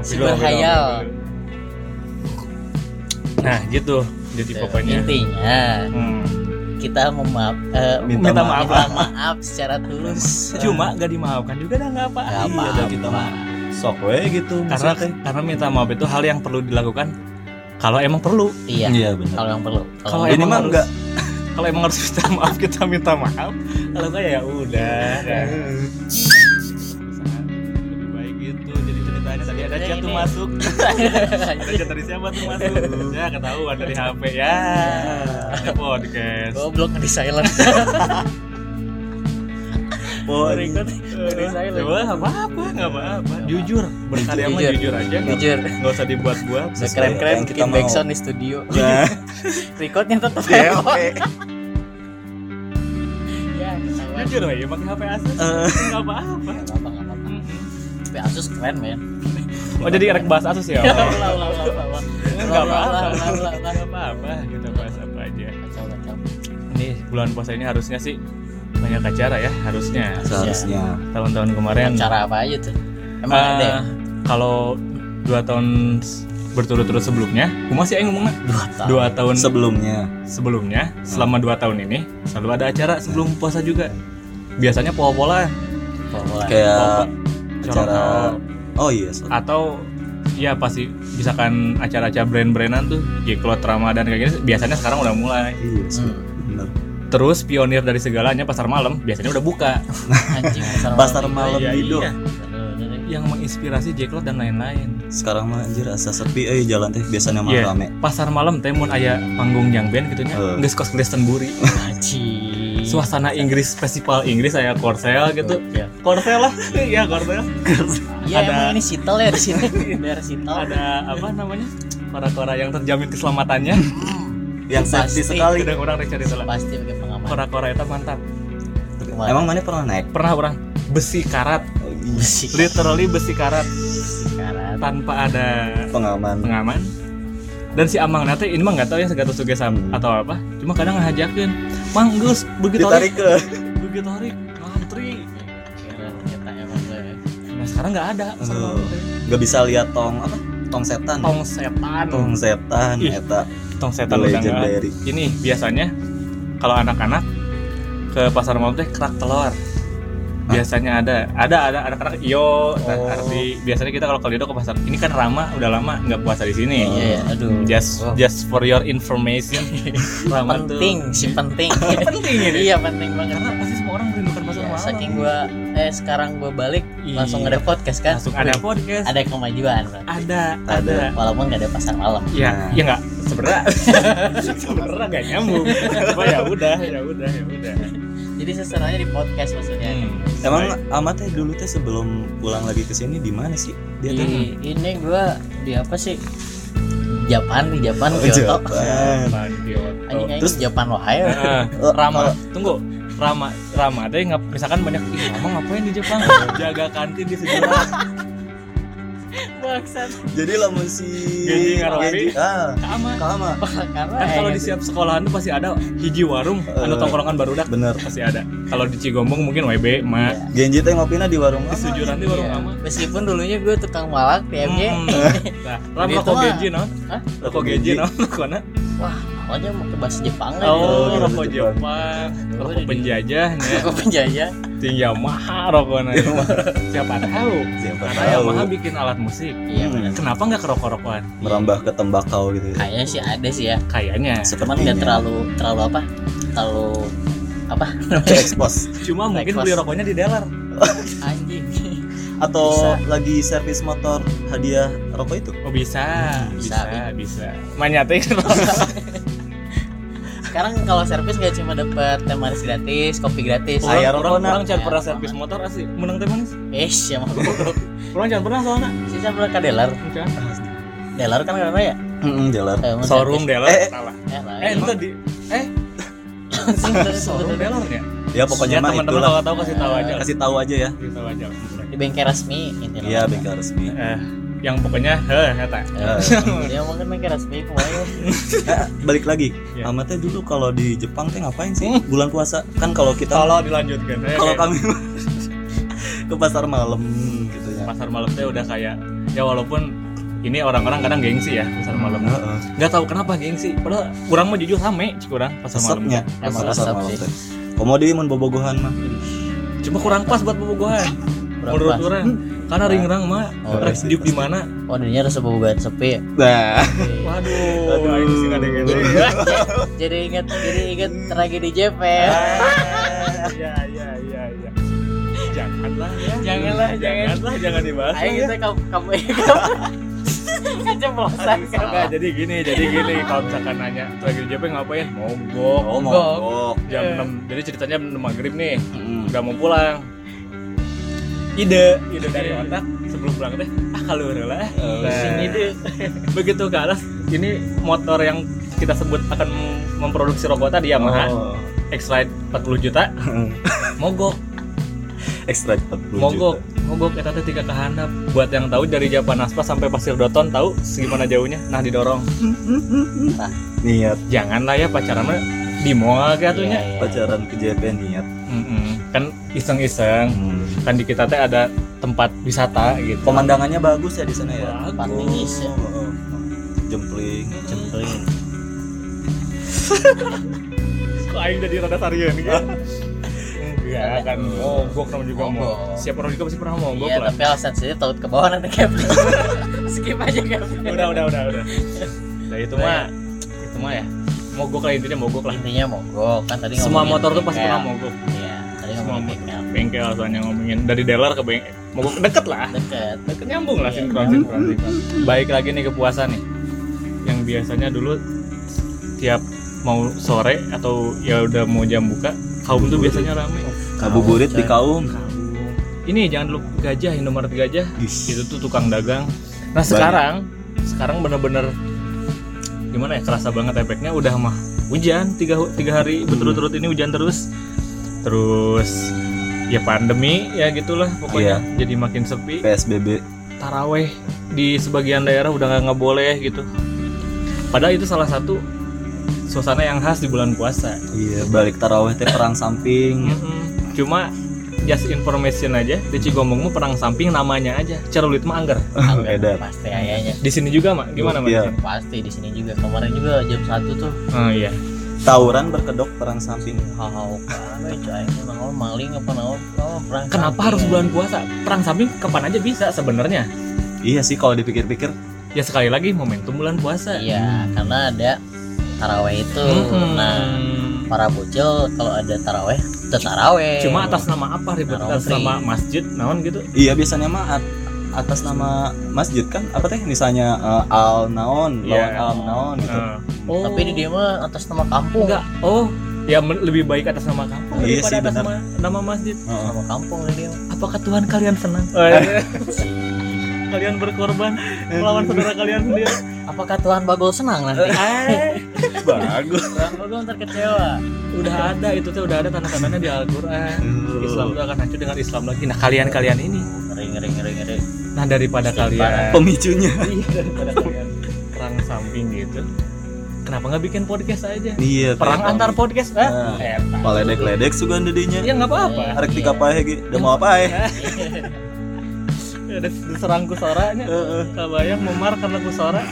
[SPEAKER 3] Si berhayal.
[SPEAKER 1] nah gitu jadi
[SPEAKER 2] Iya.
[SPEAKER 1] pokoknya
[SPEAKER 3] intinya
[SPEAKER 1] Hmm.
[SPEAKER 3] kita memaaf eh,
[SPEAKER 2] Minta
[SPEAKER 3] minta
[SPEAKER 2] maaf.
[SPEAKER 3] maaf maaf secara tulus
[SPEAKER 1] cuma gak dimaafkan juga dah nggak apa-apa
[SPEAKER 3] Nggak
[SPEAKER 2] Iya,
[SPEAKER 3] apa-apa.
[SPEAKER 2] dah kita mah sok we gitu
[SPEAKER 1] karena kan-
[SPEAKER 2] maksudnya.
[SPEAKER 1] karena minta maaf itu hal yang perlu dilakukan kalau emang perlu
[SPEAKER 3] iya
[SPEAKER 2] Iya benar.
[SPEAKER 3] kalau yang perlu
[SPEAKER 1] Kalau
[SPEAKER 2] Ini
[SPEAKER 1] emang
[SPEAKER 2] mah
[SPEAKER 1] harus-
[SPEAKER 2] enggak.
[SPEAKER 1] kalau emang harus minta maaf kita minta maaf kalau enggak ya udah lebih baik gitu jadi ceritanya tadi ada chat tuh masuk ada chat dari siapa tuh masuk ya ketahuan dari HP ya ada podcast
[SPEAKER 3] goblok di silent
[SPEAKER 2] Oh,
[SPEAKER 3] Record di silent
[SPEAKER 1] coba apa apa nggak apa apa jujur berkarya mah
[SPEAKER 3] Jujur.
[SPEAKER 1] jujur
[SPEAKER 2] Iya.
[SPEAKER 1] aja nggak-
[SPEAKER 3] jujur
[SPEAKER 1] nggak usah dibuat buat
[SPEAKER 2] Sesuai
[SPEAKER 3] sekeren-keren
[SPEAKER 2] yang kita
[SPEAKER 3] bikin
[SPEAKER 2] mau.
[SPEAKER 3] backsound di studio
[SPEAKER 1] Iya.
[SPEAKER 2] Ya.
[SPEAKER 3] recordnya tetap
[SPEAKER 2] Dewe.
[SPEAKER 3] ya ketahuan.
[SPEAKER 1] jujur ya pakai HP Asus
[SPEAKER 2] Eh.
[SPEAKER 1] nggak apa apa
[SPEAKER 3] Nggak apa-apa nggak apa-apa tapi Asus keren men
[SPEAKER 1] oh jadi rek bahas Asus ya
[SPEAKER 3] Ulah, ulah, ulah, ulah,
[SPEAKER 1] nggak
[SPEAKER 3] ulah.
[SPEAKER 1] apa-apa
[SPEAKER 3] Ulah, ulah, ulah, ulah, ulah.
[SPEAKER 1] nggak apa-apa kita bahas apa aja
[SPEAKER 3] Kacau, kacau.
[SPEAKER 1] ini bulan puasa ini harusnya sih banyak acara ya harusnya
[SPEAKER 2] Seharusnya.
[SPEAKER 1] tahun-tahun kemarin
[SPEAKER 3] Acara apa aja tuh emang
[SPEAKER 1] eh,
[SPEAKER 3] ada ya?
[SPEAKER 1] kalau dua tahun s- berturut-turut sebelumnya kumaha sih yang ngomongnya
[SPEAKER 3] dua tahun
[SPEAKER 1] dua tahun
[SPEAKER 2] Sebelumnya.
[SPEAKER 1] sebelumnya
[SPEAKER 3] Hmm.
[SPEAKER 1] selama dua tahun ini selalu ada acara sebelum puasa juga biasanya pola-pola
[SPEAKER 3] Pokoknya.
[SPEAKER 2] kayak
[SPEAKER 1] Corong
[SPEAKER 2] acara
[SPEAKER 1] Corong.
[SPEAKER 2] oh iya so-
[SPEAKER 1] atau ya pasti misalkan acara-acara brand-brandan tuh Jeklot Ramadan kayak gini biasanya sekarang udah mulai
[SPEAKER 2] iya so-
[SPEAKER 3] Hmm.
[SPEAKER 2] bener.
[SPEAKER 1] terus pionir dari segalanya pasar malam biasanya udah buka
[SPEAKER 3] anjing
[SPEAKER 2] pasar
[SPEAKER 3] juga
[SPEAKER 2] malam
[SPEAKER 1] iya,
[SPEAKER 2] Lido
[SPEAKER 1] iya. yang menginspirasi Jeklot dan lain-lain
[SPEAKER 2] sekarang mah anjir asa sepi eh jalan teh biasanya mah
[SPEAKER 1] Iya.
[SPEAKER 2] rame
[SPEAKER 1] pasar malam teh mun aya panggung yang band gitu nya
[SPEAKER 2] Eh.
[SPEAKER 1] geus kos Glastonbury
[SPEAKER 3] Anjing.
[SPEAKER 1] suasana Inggris festival Inggris saya Korsel gitu
[SPEAKER 3] Ya.
[SPEAKER 1] Korsel lah iya Korsel
[SPEAKER 3] Iya
[SPEAKER 1] Ada-
[SPEAKER 3] emang ini sitel ya di sini. Biar sitel.
[SPEAKER 1] ada apa namanya kora-kora yang terjamin keselamatannya
[SPEAKER 2] yang sepi
[SPEAKER 3] Pasti.
[SPEAKER 1] gitu.
[SPEAKER 2] sekali
[SPEAKER 1] kadang orang rek cerita lah
[SPEAKER 3] Pasti pakai pengaman.
[SPEAKER 1] kora-kora itu mantap
[SPEAKER 3] Kemarin.
[SPEAKER 2] emang mana pernah naik
[SPEAKER 1] pernah orang besi karat
[SPEAKER 2] Oh, iya.
[SPEAKER 3] besi
[SPEAKER 1] literally besi karat
[SPEAKER 3] sekarang.
[SPEAKER 1] tanpa ada
[SPEAKER 2] pengaman
[SPEAKER 1] pengaman dan si Amang nanti ini mah nggak tahu ya segatus suge sam atau apa cuma kadang ngajakin Mang Gus begitu tarik
[SPEAKER 2] ditarik ke
[SPEAKER 1] begitu tarik ngantri
[SPEAKER 3] Kita Iya, emang eh. gue.
[SPEAKER 1] nah sekarang nggak ada
[SPEAKER 3] Oh.
[SPEAKER 1] pasar
[SPEAKER 2] Eh.
[SPEAKER 1] malam teh.
[SPEAKER 2] nggak bisa lihat tong apa tong setan
[SPEAKER 1] tong setan
[SPEAKER 2] tong setan
[SPEAKER 1] Ih.
[SPEAKER 2] eta
[SPEAKER 1] tong
[SPEAKER 2] the
[SPEAKER 1] setan udah nggak
[SPEAKER 3] ya.
[SPEAKER 2] legendary
[SPEAKER 1] ini biasanya kalau anak-anak ke pasar malam teh kerak telur biasanya ada ada ada anak-anak iyo Nah,
[SPEAKER 3] Oh.
[SPEAKER 1] arti biasanya kita kalau ke Lido ke pasar ini kan Rama udah lama nggak puasa di sini
[SPEAKER 3] Iya ya, aduh.
[SPEAKER 1] just
[SPEAKER 3] Wah,
[SPEAKER 1] just for your information Rama tuh-
[SPEAKER 3] penting si penting.
[SPEAKER 1] penting ini
[SPEAKER 3] Iya penting banget.
[SPEAKER 1] karena pasti semua orang merindukan pasar
[SPEAKER 3] Ya,
[SPEAKER 1] malam
[SPEAKER 3] saking gua eh sekarang gua balik
[SPEAKER 1] Iya.
[SPEAKER 3] langsung ada podcast kan.
[SPEAKER 1] langsung ada podcast
[SPEAKER 3] Ada kemajuan. Bang.
[SPEAKER 1] ada ada,
[SPEAKER 2] Ada.
[SPEAKER 3] Walaupun gak ada pasar malam.
[SPEAKER 1] ya
[SPEAKER 2] Nah.
[SPEAKER 1] ya nggak sebenarnya sebenarnya nggak nyambung cuma ya udah ya udah ya udah
[SPEAKER 3] Jadi seseranya di podcast maksudnya.
[SPEAKER 1] Hmm.
[SPEAKER 2] emang amat teh dulu teh sebelum pulang lagi ke sini di mana sih
[SPEAKER 1] Iya,
[SPEAKER 2] dia teh
[SPEAKER 3] Di, ini gua di apa sih? Japan di Japan
[SPEAKER 2] Oh,
[SPEAKER 3] Kyoto.
[SPEAKER 2] Japan.
[SPEAKER 3] Anjing
[SPEAKER 1] Anjing
[SPEAKER 3] anjing Japan wae.
[SPEAKER 1] Nah.
[SPEAKER 2] Eh,
[SPEAKER 1] Ah, Rama, tunggu. Rama, Rama teh ngap, misalkan banyak "Ih, Rama ngapain di Jepang? Jaga kantin di sebelah.
[SPEAKER 3] Bangsat.
[SPEAKER 2] jadi lamun si
[SPEAKER 1] Genji ngarobi.
[SPEAKER 2] Genji- ah
[SPEAKER 1] Sama.
[SPEAKER 2] kalama
[SPEAKER 3] Karena
[SPEAKER 1] Kan kalau
[SPEAKER 3] eh,
[SPEAKER 1] di siap sekolahan tuh pasti ada hiji warung anu tongkrongan barudak
[SPEAKER 2] bener
[SPEAKER 1] pasti ada. Kalau di Cigombong mungkin WB, Ma.
[SPEAKER 2] Genji teh ngopina di warung
[SPEAKER 1] Di
[SPEAKER 2] apa?
[SPEAKER 1] Sujuran di warung
[SPEAKER 3] ya, Iya.
[SPEAKER 1] Rama.
[SPEAKER 3] Meskipun dulunya gue tukang malak di MJ.
[SPEAKER 1] Hmm. Nah, Ram
[SPEAKER 3] Jadi
[SPEAKER 1] rokok
[SPEAKER 3] itu mah-
[SPEAKER 1] genji no?
[SPEAKER 3] Hah?
[SPEAKER 1] Rokok genji no? Mana?
[SPEAKER 3] Wah, awalnya mau ke bahasa Jepang kan
[SPEAKER 1] Oh,
[SPEAKER 2] gitu.
[SPEAKER 1] rokok
[SPEAKER 2] Jepang.
[SPEAKER 1] Jepang, rokok
[SPEAKER 3] jadi-
[SPEAKER 1] penjajahnya.
[SPEAKER 3] Aku penjajah.
[SPEAKER 1] Tinggi mahal rokoknya. Siapa tahu?
[SPEAKER 2] Siapa
[SPEAKER 1] Karena
[SPEAKER 2] tahu
[SPEAKER 1] Yamaha bikin alat musik.
[SPEAKER 3] Iya
[SPEAKER 2] Hmm.
[SPEAKER 3] benar.
[SPEAKER 1] Kenapa nggak ke rokok-rokokan?
[SPEAKER 2] merambah ke tembakau gitu. ya.
[SPEAKER 3] Kayaknya sih ada sih ya.
[SPEAKER 1] Kayaknya.
[SPEAKER 3] Cuman nggak terlalu terlalu apa? Terlalu apa?
[SPEAKER 2] expose
[SPEAKER 1] Cuma
[SPEAKER 3] Naik
[SPEAKER 1] mungkin
[SPEAKER 3] kelas.
[SPEAKER 1] beli rokoknya di dealer.
[SPEAKER 3] Anjing.
[SPEAKER 2] atau
[SPEAKER 3] Bisa.
[SPEAKER 2] lagi servis motor hadiah rokok itu.
[SPEAKER 1] Oh bisa,
[SPEAKER 3] Bisa,
[SPEAKER 1] bisa, bisa. Manyatin rokok.
[SPEAKER 3] Sekarang kalau servis nggak cuma dapat teh manis gratis, kopi gratis.
[SPEAKER 2] Saya
[SPEAKER 1] Iya, Orang-
[SPEAKER 2] rokok,
[SPEAKER 1] orang
[SPEAKER 2] Nak.
[SPEAKER 1] orang can
[SPEAKER 3] Ya,
[SPEAKER 1] pernah
[SPEAKER 3] sama.
[SPEAKER 1] servis motor asli menang teh manis.
[SPEAKER 3] Eh, siapa goblok.
[SPEAKER 1] Pulang jangan pernah soalnya.
[SPEAKER 3] sih saya pernah ke dealer
[SPEAKER 1] Enggak.
[SPEAKER 3] dealer kan karena ya
[SPEAKER 2] Mm, dealer.
[SPEAKER 3] Eh, emang
[SPEAKER 1] Showroom
[SPEAKER 3] servis.
[SPEAKER 1] dealer
[SPEAKER 2] Eh, eh.
[SPEAKER 1] salah.
[SPEAKER 3] Ya lah,
[SPEAKER 1] Eh,
[SPEAKER 3] emang.
[SPEAKER 1] entar di eh showroom dealer ya.
[SPEAKER 2] Ya
[SPEAKER 1] Ya,
[SPEAKER 2] pokoknya mah
[SPEAKER 1] teman-teman
[SPEAKER 2] itulah.
[SPEAKER 1] kalau tahu kasih tahu aja.
[SPEAKER 2] Kasih tahu aja ya.
[SPEAKER 1] Kasih tahu aja.
[SPEAKER 3] di bengkel resmi intinya
[SPEAKER 2] Iya, bengkel resmi.
[SPEAKER 1] Eh, yang pokoknya heh kata.
[SPEAKER 3] Ya,
[SPEAKER 2] Eh.
[SPEAKER 3] dia mungkin bengkel resmi pokoknya
[SPEAKER 2] Eh, balik lagi.
[SPEAKER 1] Iya.
[SPEAKER 2] Ahmad teh dulu kalau di Jepang teh ngapain sih? Bulan puasa kan kalau kita
[SPEAKER 1] Kalau dilanjutkan. saya
[SPEAKER 2] kalau
[SPEAKER 1] kayak-
[SPEAKER 2] kami ke pasar malam gitu ya.
[SPEAKER 1] pasar malam teh udah kayak ya walaupun ini orang-orang kadang gengsi ya pasar malam
[SPEAKER 2] Heeh.
[SPEAKER 1] nggak tahu kenapa gengsi padahal kurang mah jujur rame sih kurang pasar malam
[SPEAKER 2] Sesepnya
[SPEAKER 1] teh.
[SPEAKER 2] emang
[SPEAKER 3] Sesep
[SPEAKER 2] pasar
[SPEAKER 3] sih.
[SPEAKER 2] malam teh. Komodi mun bobogohan mah.
[SPEAKER 1] cuma kurang pas buat bobogohan
[SPEAKER 3] Kurang
[SPEAKER 1] menurut
[SPEAKER 3] pas.
[SPEAKER 1] orang karena ringrang mah
[SPEAKER 3] Oh,
[SPEAKER 1] rek
[SPEAKER 2] pasti,
[SPEAKER 1] diuk di
[SPEAKER 2] pasti.
[SPEAKER 1] mana
[SPEAKER 3] oh dunia harus sebuah sepi
[SPEAKER 2] Nah,
[SPEAKER 1] waduh
[SPEAKER 2] Aduh.
[SPEAKER 1] aing sih nggak ada yang ngerti. Iya,
[SPEAKER 3] jadi ingat jadi ingat tragedi ya. JP
[SPEAKER 1] Ah, ya ya ya ya janganlah ya
[SPEAKER 3] Janganlah, jangan.
[SPEAKER 1] janganlah jangan dibahas
[SPEAKER 3] ayo
[SPEAKER 1] lah ya.
[SPEAKER 3] kita kamu kamu keceplosan
[SPEAKER 1] Aduh,
[SPEAKER 3] kamu
[SPEAKER 1] enggak, jadi gini jadi gini kalau misalkan nanya tragedi JP ngapain mogok
[SPEAKER 2] oh mogok.
[SPEAKER 1] jam
[SPEAKER 3] Eh.
[SPEAKER 1] 6 jadi ceritanya 6 maghrib nih
[SPEAKER 2] Mm.
[SPEAKER 1] udah mau pulang ide ide dari otak sebelum pulang teh ah kalau lah
[SPEAKER 2] Oh,
[SPEAKER 1] Nah,
[SPEAKER 3] sini deh
[SPEAKER 1] begitu ke atas ini motor yang kita sebut akan memproduksi rokok tadi ya, Yamaha
[SPEAKER 2] Oh.
[SPEAKER 1] X-Ride 40 juta mogok
[SPEAKER 2] Extra 40
[SPEAKER 1] mogok
[SPEAKER 2] juta.
[SPEAKER 1] mogok eta teh tiga kehandap buat yang tahu dari Japan Aspa sampai Pasir Doton tahu segimana jauhnya nah didorong
[SPEAKER 2] Niat
[SPEAKER 1] janganlah ya pacaran mah di mall
[SPEAKER 3] Iya,
[SPEAKER 1] gatunya
[SPEAKER 3] iya.
[SPEAKER 2] pacaran ke JP niat.
[SPEAKER 1] kan iseng-iseng
[SPEAKER 2] Hmm.
[SPEAKER 1] kan di kita teh ada tempat wisata gitu
[SPEAKER 2] Pemandangannya bagus ya di sana ya.
[SPEAKER 3] Pantingis ya.
[SPEAKER 2] Oh, oh. Jempling. ya.
[SPEAKER 3] cemplung
[SPEAKER 1] Kok aing jadi rada sarian gitu. Enggak kan mogok namanya juga
[SPEAKER 3] Mogok.
[SPEAKER 1] mogok. Siapa orang juga pasti pernah mogok
[SPEAKER 3] iya
[SPEAKER 1] lah.
[SPEAKER 3] tapi alasan sendiri takut ke bawah nanti kayak skip aja kayak
[SPEAKER 1] Udah udah udah udah. Nah itu mah itu mah ya. Mogok lah intinya mogok lah.
[SPEAKER 3] intinya mogok kan tadi
[SPEAKER 1] Semua
[SPEAKER 3] ngomongin
[SPEAKER 1] motor tuh pasti
[SPEAKER 3] bengkel.
[SPEAKER 1] pernah mogok.
[SPEAKER 3] iya tadi
[SPEAKER 1] Semua
[SPEAKER 3] ngomongin
[SPEAKER 1] motor.
[SPEAKER 3] bengkel
[SPEAKER 1] Bengkel soalnya ngomongin dari dealer ke bengkel. Mogok deket lah.
[SPEAKER 3] deket
[SPEAKER 1] Deket nyambung lah
[SPEAKER 3] Iya.
[SPEAKER 1] sinkron sinkron. sinkron. Baik lagi nih ke puasa nih. Yang biasanya dulu tiap mau sore atau ya udah mau jam buka kaum tuh biasanya rame.
[SPEAKER 2] Kabuburit
[SPEAKER 3] Kaum,
[SPEAKER 2] di kaum.
[SPEAKER 1] Ini jangan lupa gajah, Indomaret gajah.
[SPEAKER 2] Ih,
[SPEAKER 1] itu tuh tukang dagang nah sekarang sekarang bener-bener gimana ya kerasa banget efeknya udah mah hujan tiga hu- tiga hari berturut-turut ini hujan terus terus ya pandemi ya gitulah pokoknya jadi makin sepi
[SPEAKER 2] PSBB.
[SPEAKER 1] taraweh di sebagian daerah udah nggak nggak boleh gitu padahal itu salah satu suasana yang khas di bulan puasa
[SPEAKER 2] Iya, balik taraweh teh perang samping.
[SPEAKER 1] Mm-mm. Iya. cuma just information aja di Cigombong mah perang samping namanya aja cerulit mah angger
[SPEAKER 2] Edan.
[SPEAKER 3] pasti ayahnya
[SPEAKER 1] di sini juga mak gimana mak di
[SPEAKER 2] Iya.
[SPEAKER 1] sini?
[SPEAKER 3] pasti di sini juga kemarin juga jam satu tuh
[SPEAKER 1] Oh iya.
[SPEAKER 2] Tawuran berkedok perang samping.
[SPEAKER 3] hau kan cai naon maling apa naon oh, perang
[SPEAKER 1] Kenapa harus bulan puasa? Perang samping kapan aja bisa sebenarnya.
[SPEAKER 2] Iya sih kalau dipikir-pikir.
[SPEAKER 1] Ya sekali lagi momentum bulan puasa. Hmm.
[SPEAKER 3] iya karena ada taraweh itu
[SPEAKER 1] Mm-mm.
[SPEAKER 3] nah para bocil kalau ada taraweh tetap taraweh
[SPEAKER 1] Cuma atas nama apa ribet?
[SPEAKER 3] Tarawih.
[SPEAKER 1] Atas nama masjid, naon gitu?
[SPEAKER 2] Iya biasanya mah at- atas nama masjid kan apa teh misalnya eh, al naon lawan
[SPEAKER 1] Iya.
[SPEAKER 2] al naon gitu.
[SPEAKER 1] Nah. Oh.
[SPEAKER 3] tapi di dia mah atas nama kampung
[SPEAKER 1] enggak. Oh, ya men- lebih baik atas nama kampung
[SPEAKER 2] Iya
[SPEAKER 1] daripada
[SPEAKER 2] sih,
[SPEAKER 1] atas
[SPEAKER 2] benar.
[SPEAKER 1] nama, nama masjid.
[SPEAKER 2] Heeh.
[SPEAKER 3] nama kampung di dia mah.
[SPEAKER 1] Apakah Tuhan kalian senang?
[SPEAKER 2] Oh, iya.
[SPEAKER 1] kalian berkorban
[SPEAKER 2] Eh.
[SPEAKER 1] melawan saudara kalian sendiri.
[SPEAKER 3] apakah Tuhan Bagol senang nanti
[SPEAKER 1] Eh,
[SPEAKER 2] Bagus.
[SPEAKER 3] Tuhan Bagol ntar kecewa
[SPEAKER 1] udah ada itu tuh udah ada tanda-tandanya di Al-Qur'an. Islam itu akan hancur dengan Islam lagi. Nah, kalian-kalian ini.
[SPEAKER 3] ngeri ngeri ngeri ngeri
[SPEAKER 1] Nah, daripada kalian
[SPEAKER 2] Pemicunya.
[SPEAKER 1] Iya daripada kalian perang samping gitu. Kenapa nggak bikin podcast aja?
[SPEAKER 2] Iya. teh.
[SPEAKER 1] Perang antar podcast, ah?
[SPEAKER 2] Nah.
[SPEAKER 1] Eta.
[SPEAKER 2] Paledek-ledek sugan dedinya.
[SPEAKER 1] Ya nggak apa-apa.
[SPEAKER 2] Arek tiga pahe ge. Da mau apa eh?
[SPEAKER 1] Ada diserang kusoranya. Kabayang memar karena kusora.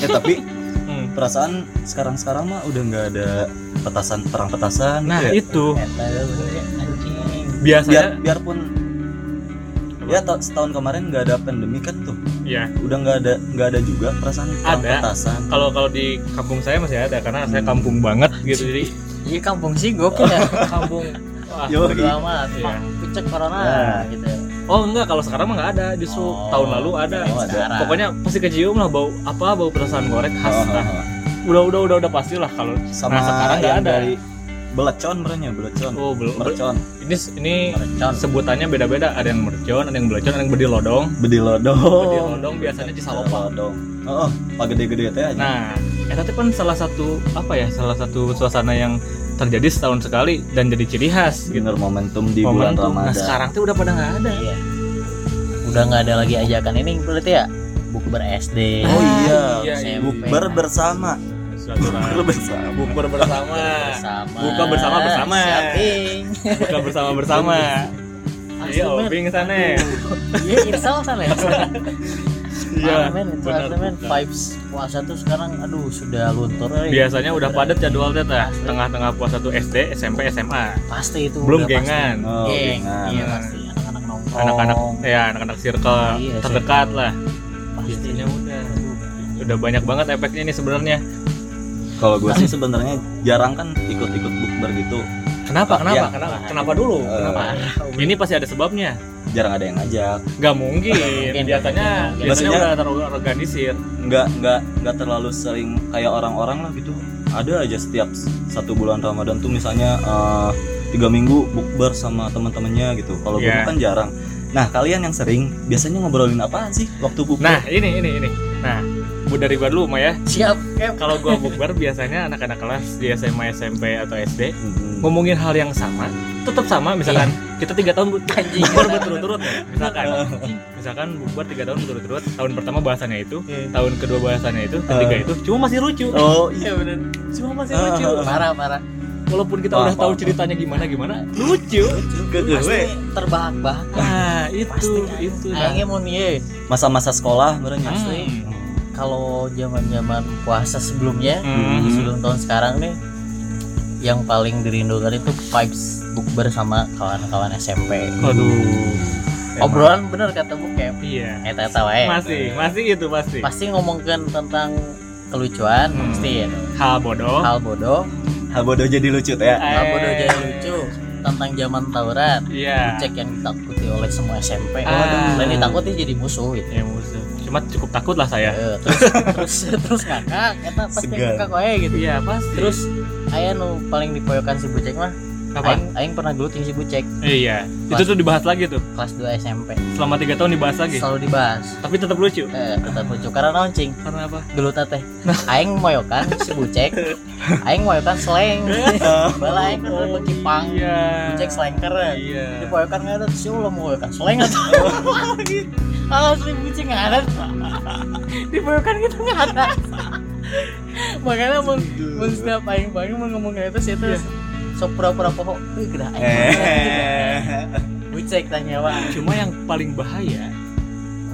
[SPEAKER 2] Eh tapi
[SPEAKER 1] Hmm.
[SPEAKER 2] perasaan sekarang-sekarang mah udah nggak ada petasan perang petasan
[SPEAKER 1] Nah
[SPEAKER 2] gitu ya.
[SPEAKER 1] itu
[SPEAKER 3] Eta lu bener ya, anjing
[SPEAKER 2] biar
[SPEAKER 1] biasanya.
[SPEAKER 2] biarpun ya ta- setahun kemarin nggak ada pandemi kan tuh
[SPEAKER 1] Ya
[SPEAKER 2] udah nggak ada nggak ada juga perasaan perang
[SPEAKER 1] Ada.
[SPEAKER 2] petasan
[SPEAKER 1] kalau kalau di kampung saya masih ada karena saya kampung banget gitu jadi
[SPEAKER 3] Iya kampung sih gokil ya kampung
[SPEAKER 1] wah.
[SPEAKER 2] Yo,
[SPEAKER 3] bodo
[SPEAKER 2] iya.
[SPEAKER 3] amat
[SPEAKER 1] Iya.
[SPEAKER 3] Pak, puncak corona
[SPEAKER 2] Nah.
[SPEAKER 3] gitu
[SPEAKER 1] Oh enggak kalau sekarang mah nggak ada justru
[SPEAKER 3] Oh,
[SPEAKER 1] tahun lalu ada.
[SPEAKER 3] kirain
[SPEAKER 2] ada.
[SPEAKER 3] sekarang.
[SPEAKER 1] Pokoknya pasti kecium lah bau apa bau perasan goreng khas.
[SPEAKER 2] Nah. Oh, oh,
[SPEAKER 1] Nah,
[SPEAKER 2] oh.
[SPEAKER 1] udah udah udah udah pasti lah kalau
[SPEAKER 2] sama
[SPEAKER 1] Nah, sekarang nggak
[SPEAKER 2] yang
[SPEAKER 1] ada.
[SPEAKER 2] dari belecon merenya belecon
[SPEAKER 1] Oh, bel-
[SPEAKER 2] mercon
[SPEAKER 1] Ini ini
[SPEAKER 3] Mercon.
[SPEAKER 1] sebutannya beda-beda. Ada yang mercon, ada yang belecon, ada yang bedilodong.
[SPEAKER 2] bedilodong
[SPEAKER 1] Bedilodong biasanya di salopang.
[SPEAKER 2] bedilodong oh, oh pak gede-gede teh aja
[SPEAKER 1] Nah, eta teh kan salah satu apa ya? Salah satu suasana yang terjadi setahun sekali dan jadi ciri khas gitu.
[SPEAKER 2] bener momentum di bulan
[SPEAKER 1] Momentum.
[SPEAKER 2] ramadan
[SPEAKER 1] Nah, sekarang tuh udah pada nggak ada.
[SPEAKER 3] Iya. Udah nggak ada lagi ajakan ini berarti ya bukber SD.
[SPEAKER 2] oh iya,
[SPEAKER 1] Iya, iya.
[SPEAKER 2] bukber bersama
[SPEAKER 1] Silaturahmi.
[SPEAKER 2] bukber bersama
[SPEAKER 1] Bukber bersama.
[SPEAKER 3] Bersama.
[SPEAKER 1] Buka bersama-bersama.
[SPEAKER 3] Siap, Ing.
[SPEAKER 1] Buka bersama bersama.
[SPEAKER 3] Asli,
[SPEAKER 1] Iya,
[SPEAKER 3] men.
[SPEAKER 1] obing sana.
[SPEAKER 3] Iya, insya Allah sana ya. Parah, men, itu
[SPEAKER 1] benar.
[SPEAKER 3] asli, men. vibes puasa tuh sekarang aduh sudah luntur. eh.
[SPEAKER 1] Biasanya udah padat jadwal teh teh. Tengah-tengah puasa tuh SD, SMP, SMA.
[SPEAKER 3] Pasti itu
[SPEAKER 1] Belum
[SPEAKER 3] udah pasti.
[SPEAKER 1] gengan.
[SPEAKER 2] oh,
[SPEAKER 3] Geng,
[SPEAKER 2] nah,
[SPEAKER 3] iya pasti anak-anak nongkrong.
[SPEAKER 1] Anak-anak ya anak-anak circle
[SPEAKER 3] Iya,
[SPEAKER 1] terdekat lah.
[SPEAKER 3] pasti.
[SPEAKER 1] Biasanya udah. Udah banyak banget efeknya ini sebenarnya.
[SPEAKER 2] kalau gue sih sebenarnya jarang kan ikut-ikut bukber gitu
[SPEAKER 1] Kenapa?
[SPEAKER 2] Ah,
[SPEAKER 1] Kenapa?
[SPEAKER 2] iya.
[SPEAKER 1] Kenapa? Kenapa dulu?
[SPEAKER 2] Eh,
[SPEAKER 1] Kenapa? Ini pasti ada sebabnya.
[SPEAKER 2] jarang ada yang ngajak
[SPEAKER 1] Gak mungkin.
[SPEAKER 3] Mungkin.
[SPEAKER 1] Biasanya
[SPEAKER 3] Mungkin.
[SPEAKER 1] biasanya
[SPEAKER 2] Maksudnya-
[SPEAKER 1] udah terorganisir.
[SPEAKER 2] nggak nggak nggak terlalu sering kayak orang-orang lah gitu ada aja setiap s- satu bulan Ramadan tuh misalnya eh, tiga minggu bukber sama teman-temannya gitu kalau gue
[SPEAKER 1] Iya.
[SPEAKER 2] kan jarang nah kalian yang sering biasanya ngobrolin apaan sih waktu bukber
[SPEAKER 1] Nah, ini ini ini. Nah, bu dari gua dulu, Maya.
[SPEAKER 3] Siap, Em.
[SPEAKER 1] Kalau gua bukber biasanya anak-anak kelas di SMA, SMP atau SD
[SPEAKER 2] Mm-mm.
[SPEAKER 1] ngomongin hal yang sama, tetap sama misalkan kita tiga tahun bu-
[SPEAKER 3] Iya. Anjing.
[SPEAKER 1] bukber berturut-turut ya, misalkan misalkan bukber tiga tahun berturut-turut tahun pertama bahasannya itu
[SPEAKER 3] Iya.
[SPEAKER 1] tahun kedua bahasannya itu ketiga
[SPEAKER 2] Eh.
[SPEAKER 1] itu cuma masih lucu
[SPEAKER 2] oh iya
[SPEAKER 3] Iya benar.
[SPEAKER 1] cuma masih
[SPEAKER 2] Eh.
[SPEAKER 1] lucu
[SPEAKER 3] Parah, parah.
[SPEAKER 1] walaupun kita
[SPEAKER 2] Paham,
[SPEAKER 1] udah tahu
[SPEAKER 2] paham.
[SPEAKER 1] ceritanya gimana gimana lucu
[SPEAKER 2] ke
[SPEAKER 3] Pasti
[SPEAKER 2] gue
[SPEAKER 3] terbahak-bahak.
[SPEAKER 1] ah itu
[SPEAKER 3] kan.
[SPEAKER 1] itu nah. Hmm.
[SPEAKER 3] Aingnya mau nih,
[SPEAKER 2] masa-masa sekolah ya. barengnya
[SPEAKER 3] Asli. kalau zaman-zaman puasa sebelumnya,
[SPEAKER 1] Hmm.
[SPEAKER 3] sebelum tahun sekarang nih yang paling dirindukan itu vibes bukber sama kawan-kawan SMP.
[SPEAKER 1] Waduh. Emang.
[SPEAKER 3] Obrolan bener kata Bu Kem.
[SPEAKER 1] Iya.
[SPEAKER 3] Eta eta wae.
[SPEAKER 1] Masih, masih itu pasti.
[SPEAKER 3] Pasti ngomongkan tentang kelucuan
[SPEAKER 1] Hmm.
[SPEAKER 3] pasti ya.
[SPEAKER 1] Hal bodoh.
[SPEAKER 3] Hal bodoh,
[SPEAKER 2] hal bodoh jadi lucu teh ya
[SPEAKER 1] Oh. Eh,
[SPEAKER 3] hal bodoh jadi lucu tentang zaman tawuran.
[SPEAKER 1] Iya.
[SPEAKER 3] Cek yang ditakuti oleh semua SMP.
[SPEAKER 1] Ah.
[SPEAKER 3] Oh, Dan ditakuti jadi musuh gitu.
[SPEAKER 1] Ya musuh. Cuma cukup takut lah saya.
[SPEAKER 3] Eh, terus terus terus ngakak, eta pasti
[SPEAKER 2] Segan.
[SPEAKER 3] ngakak wae gitu.
[SPEAKER 1] Iya pasti. Terus
[SPEAKER 3] Terus aya nu paling dipoyokan si Bucek mah
[SPEAKER 1] apa?
[SPEAKER 3] Aing, aing pernah gelut si Bucek
[SPEAKER 1] Iya. Itu tuh dibahas lagi tuh.
[SPEAKER 3] kelas 2 SMP.
[SPEAKER 1] Selama tiga tahun dibahas lagi.
[SPEAKER 3] Selalu dibahas.
[SPEAKER 1] Tapi tetap lucu.
[SPEAKER 3] Eh, tetap lucu karena launching
[SPEAKER 1] Karena apa?
[SPEAKER 3] gelut teh. Aing moyokan si Bucek. Aing moyokan seleng. Bala aing kan bagi pang.
[SPEAKER 1] Iya.
[SPEAKER 3] Bucek seleng keren.
[SPEAKER 1] Iya.
[SPEAKER 3] Dipoyokan nggak ada si Allah moyokan seleng atau Asli Bucek nggak ada. Dipoyokan kita nggak ada. Makanya mun mun setiap aing bangun mun ngomong kayak itu sih terus sok pura-pura pohon. Wih, gerah aing.
[SPEAKER 2] eh
[SPEAKER 3] Bucek tanya wah.
[SPEAKER 1] Cuma yang paling bahaya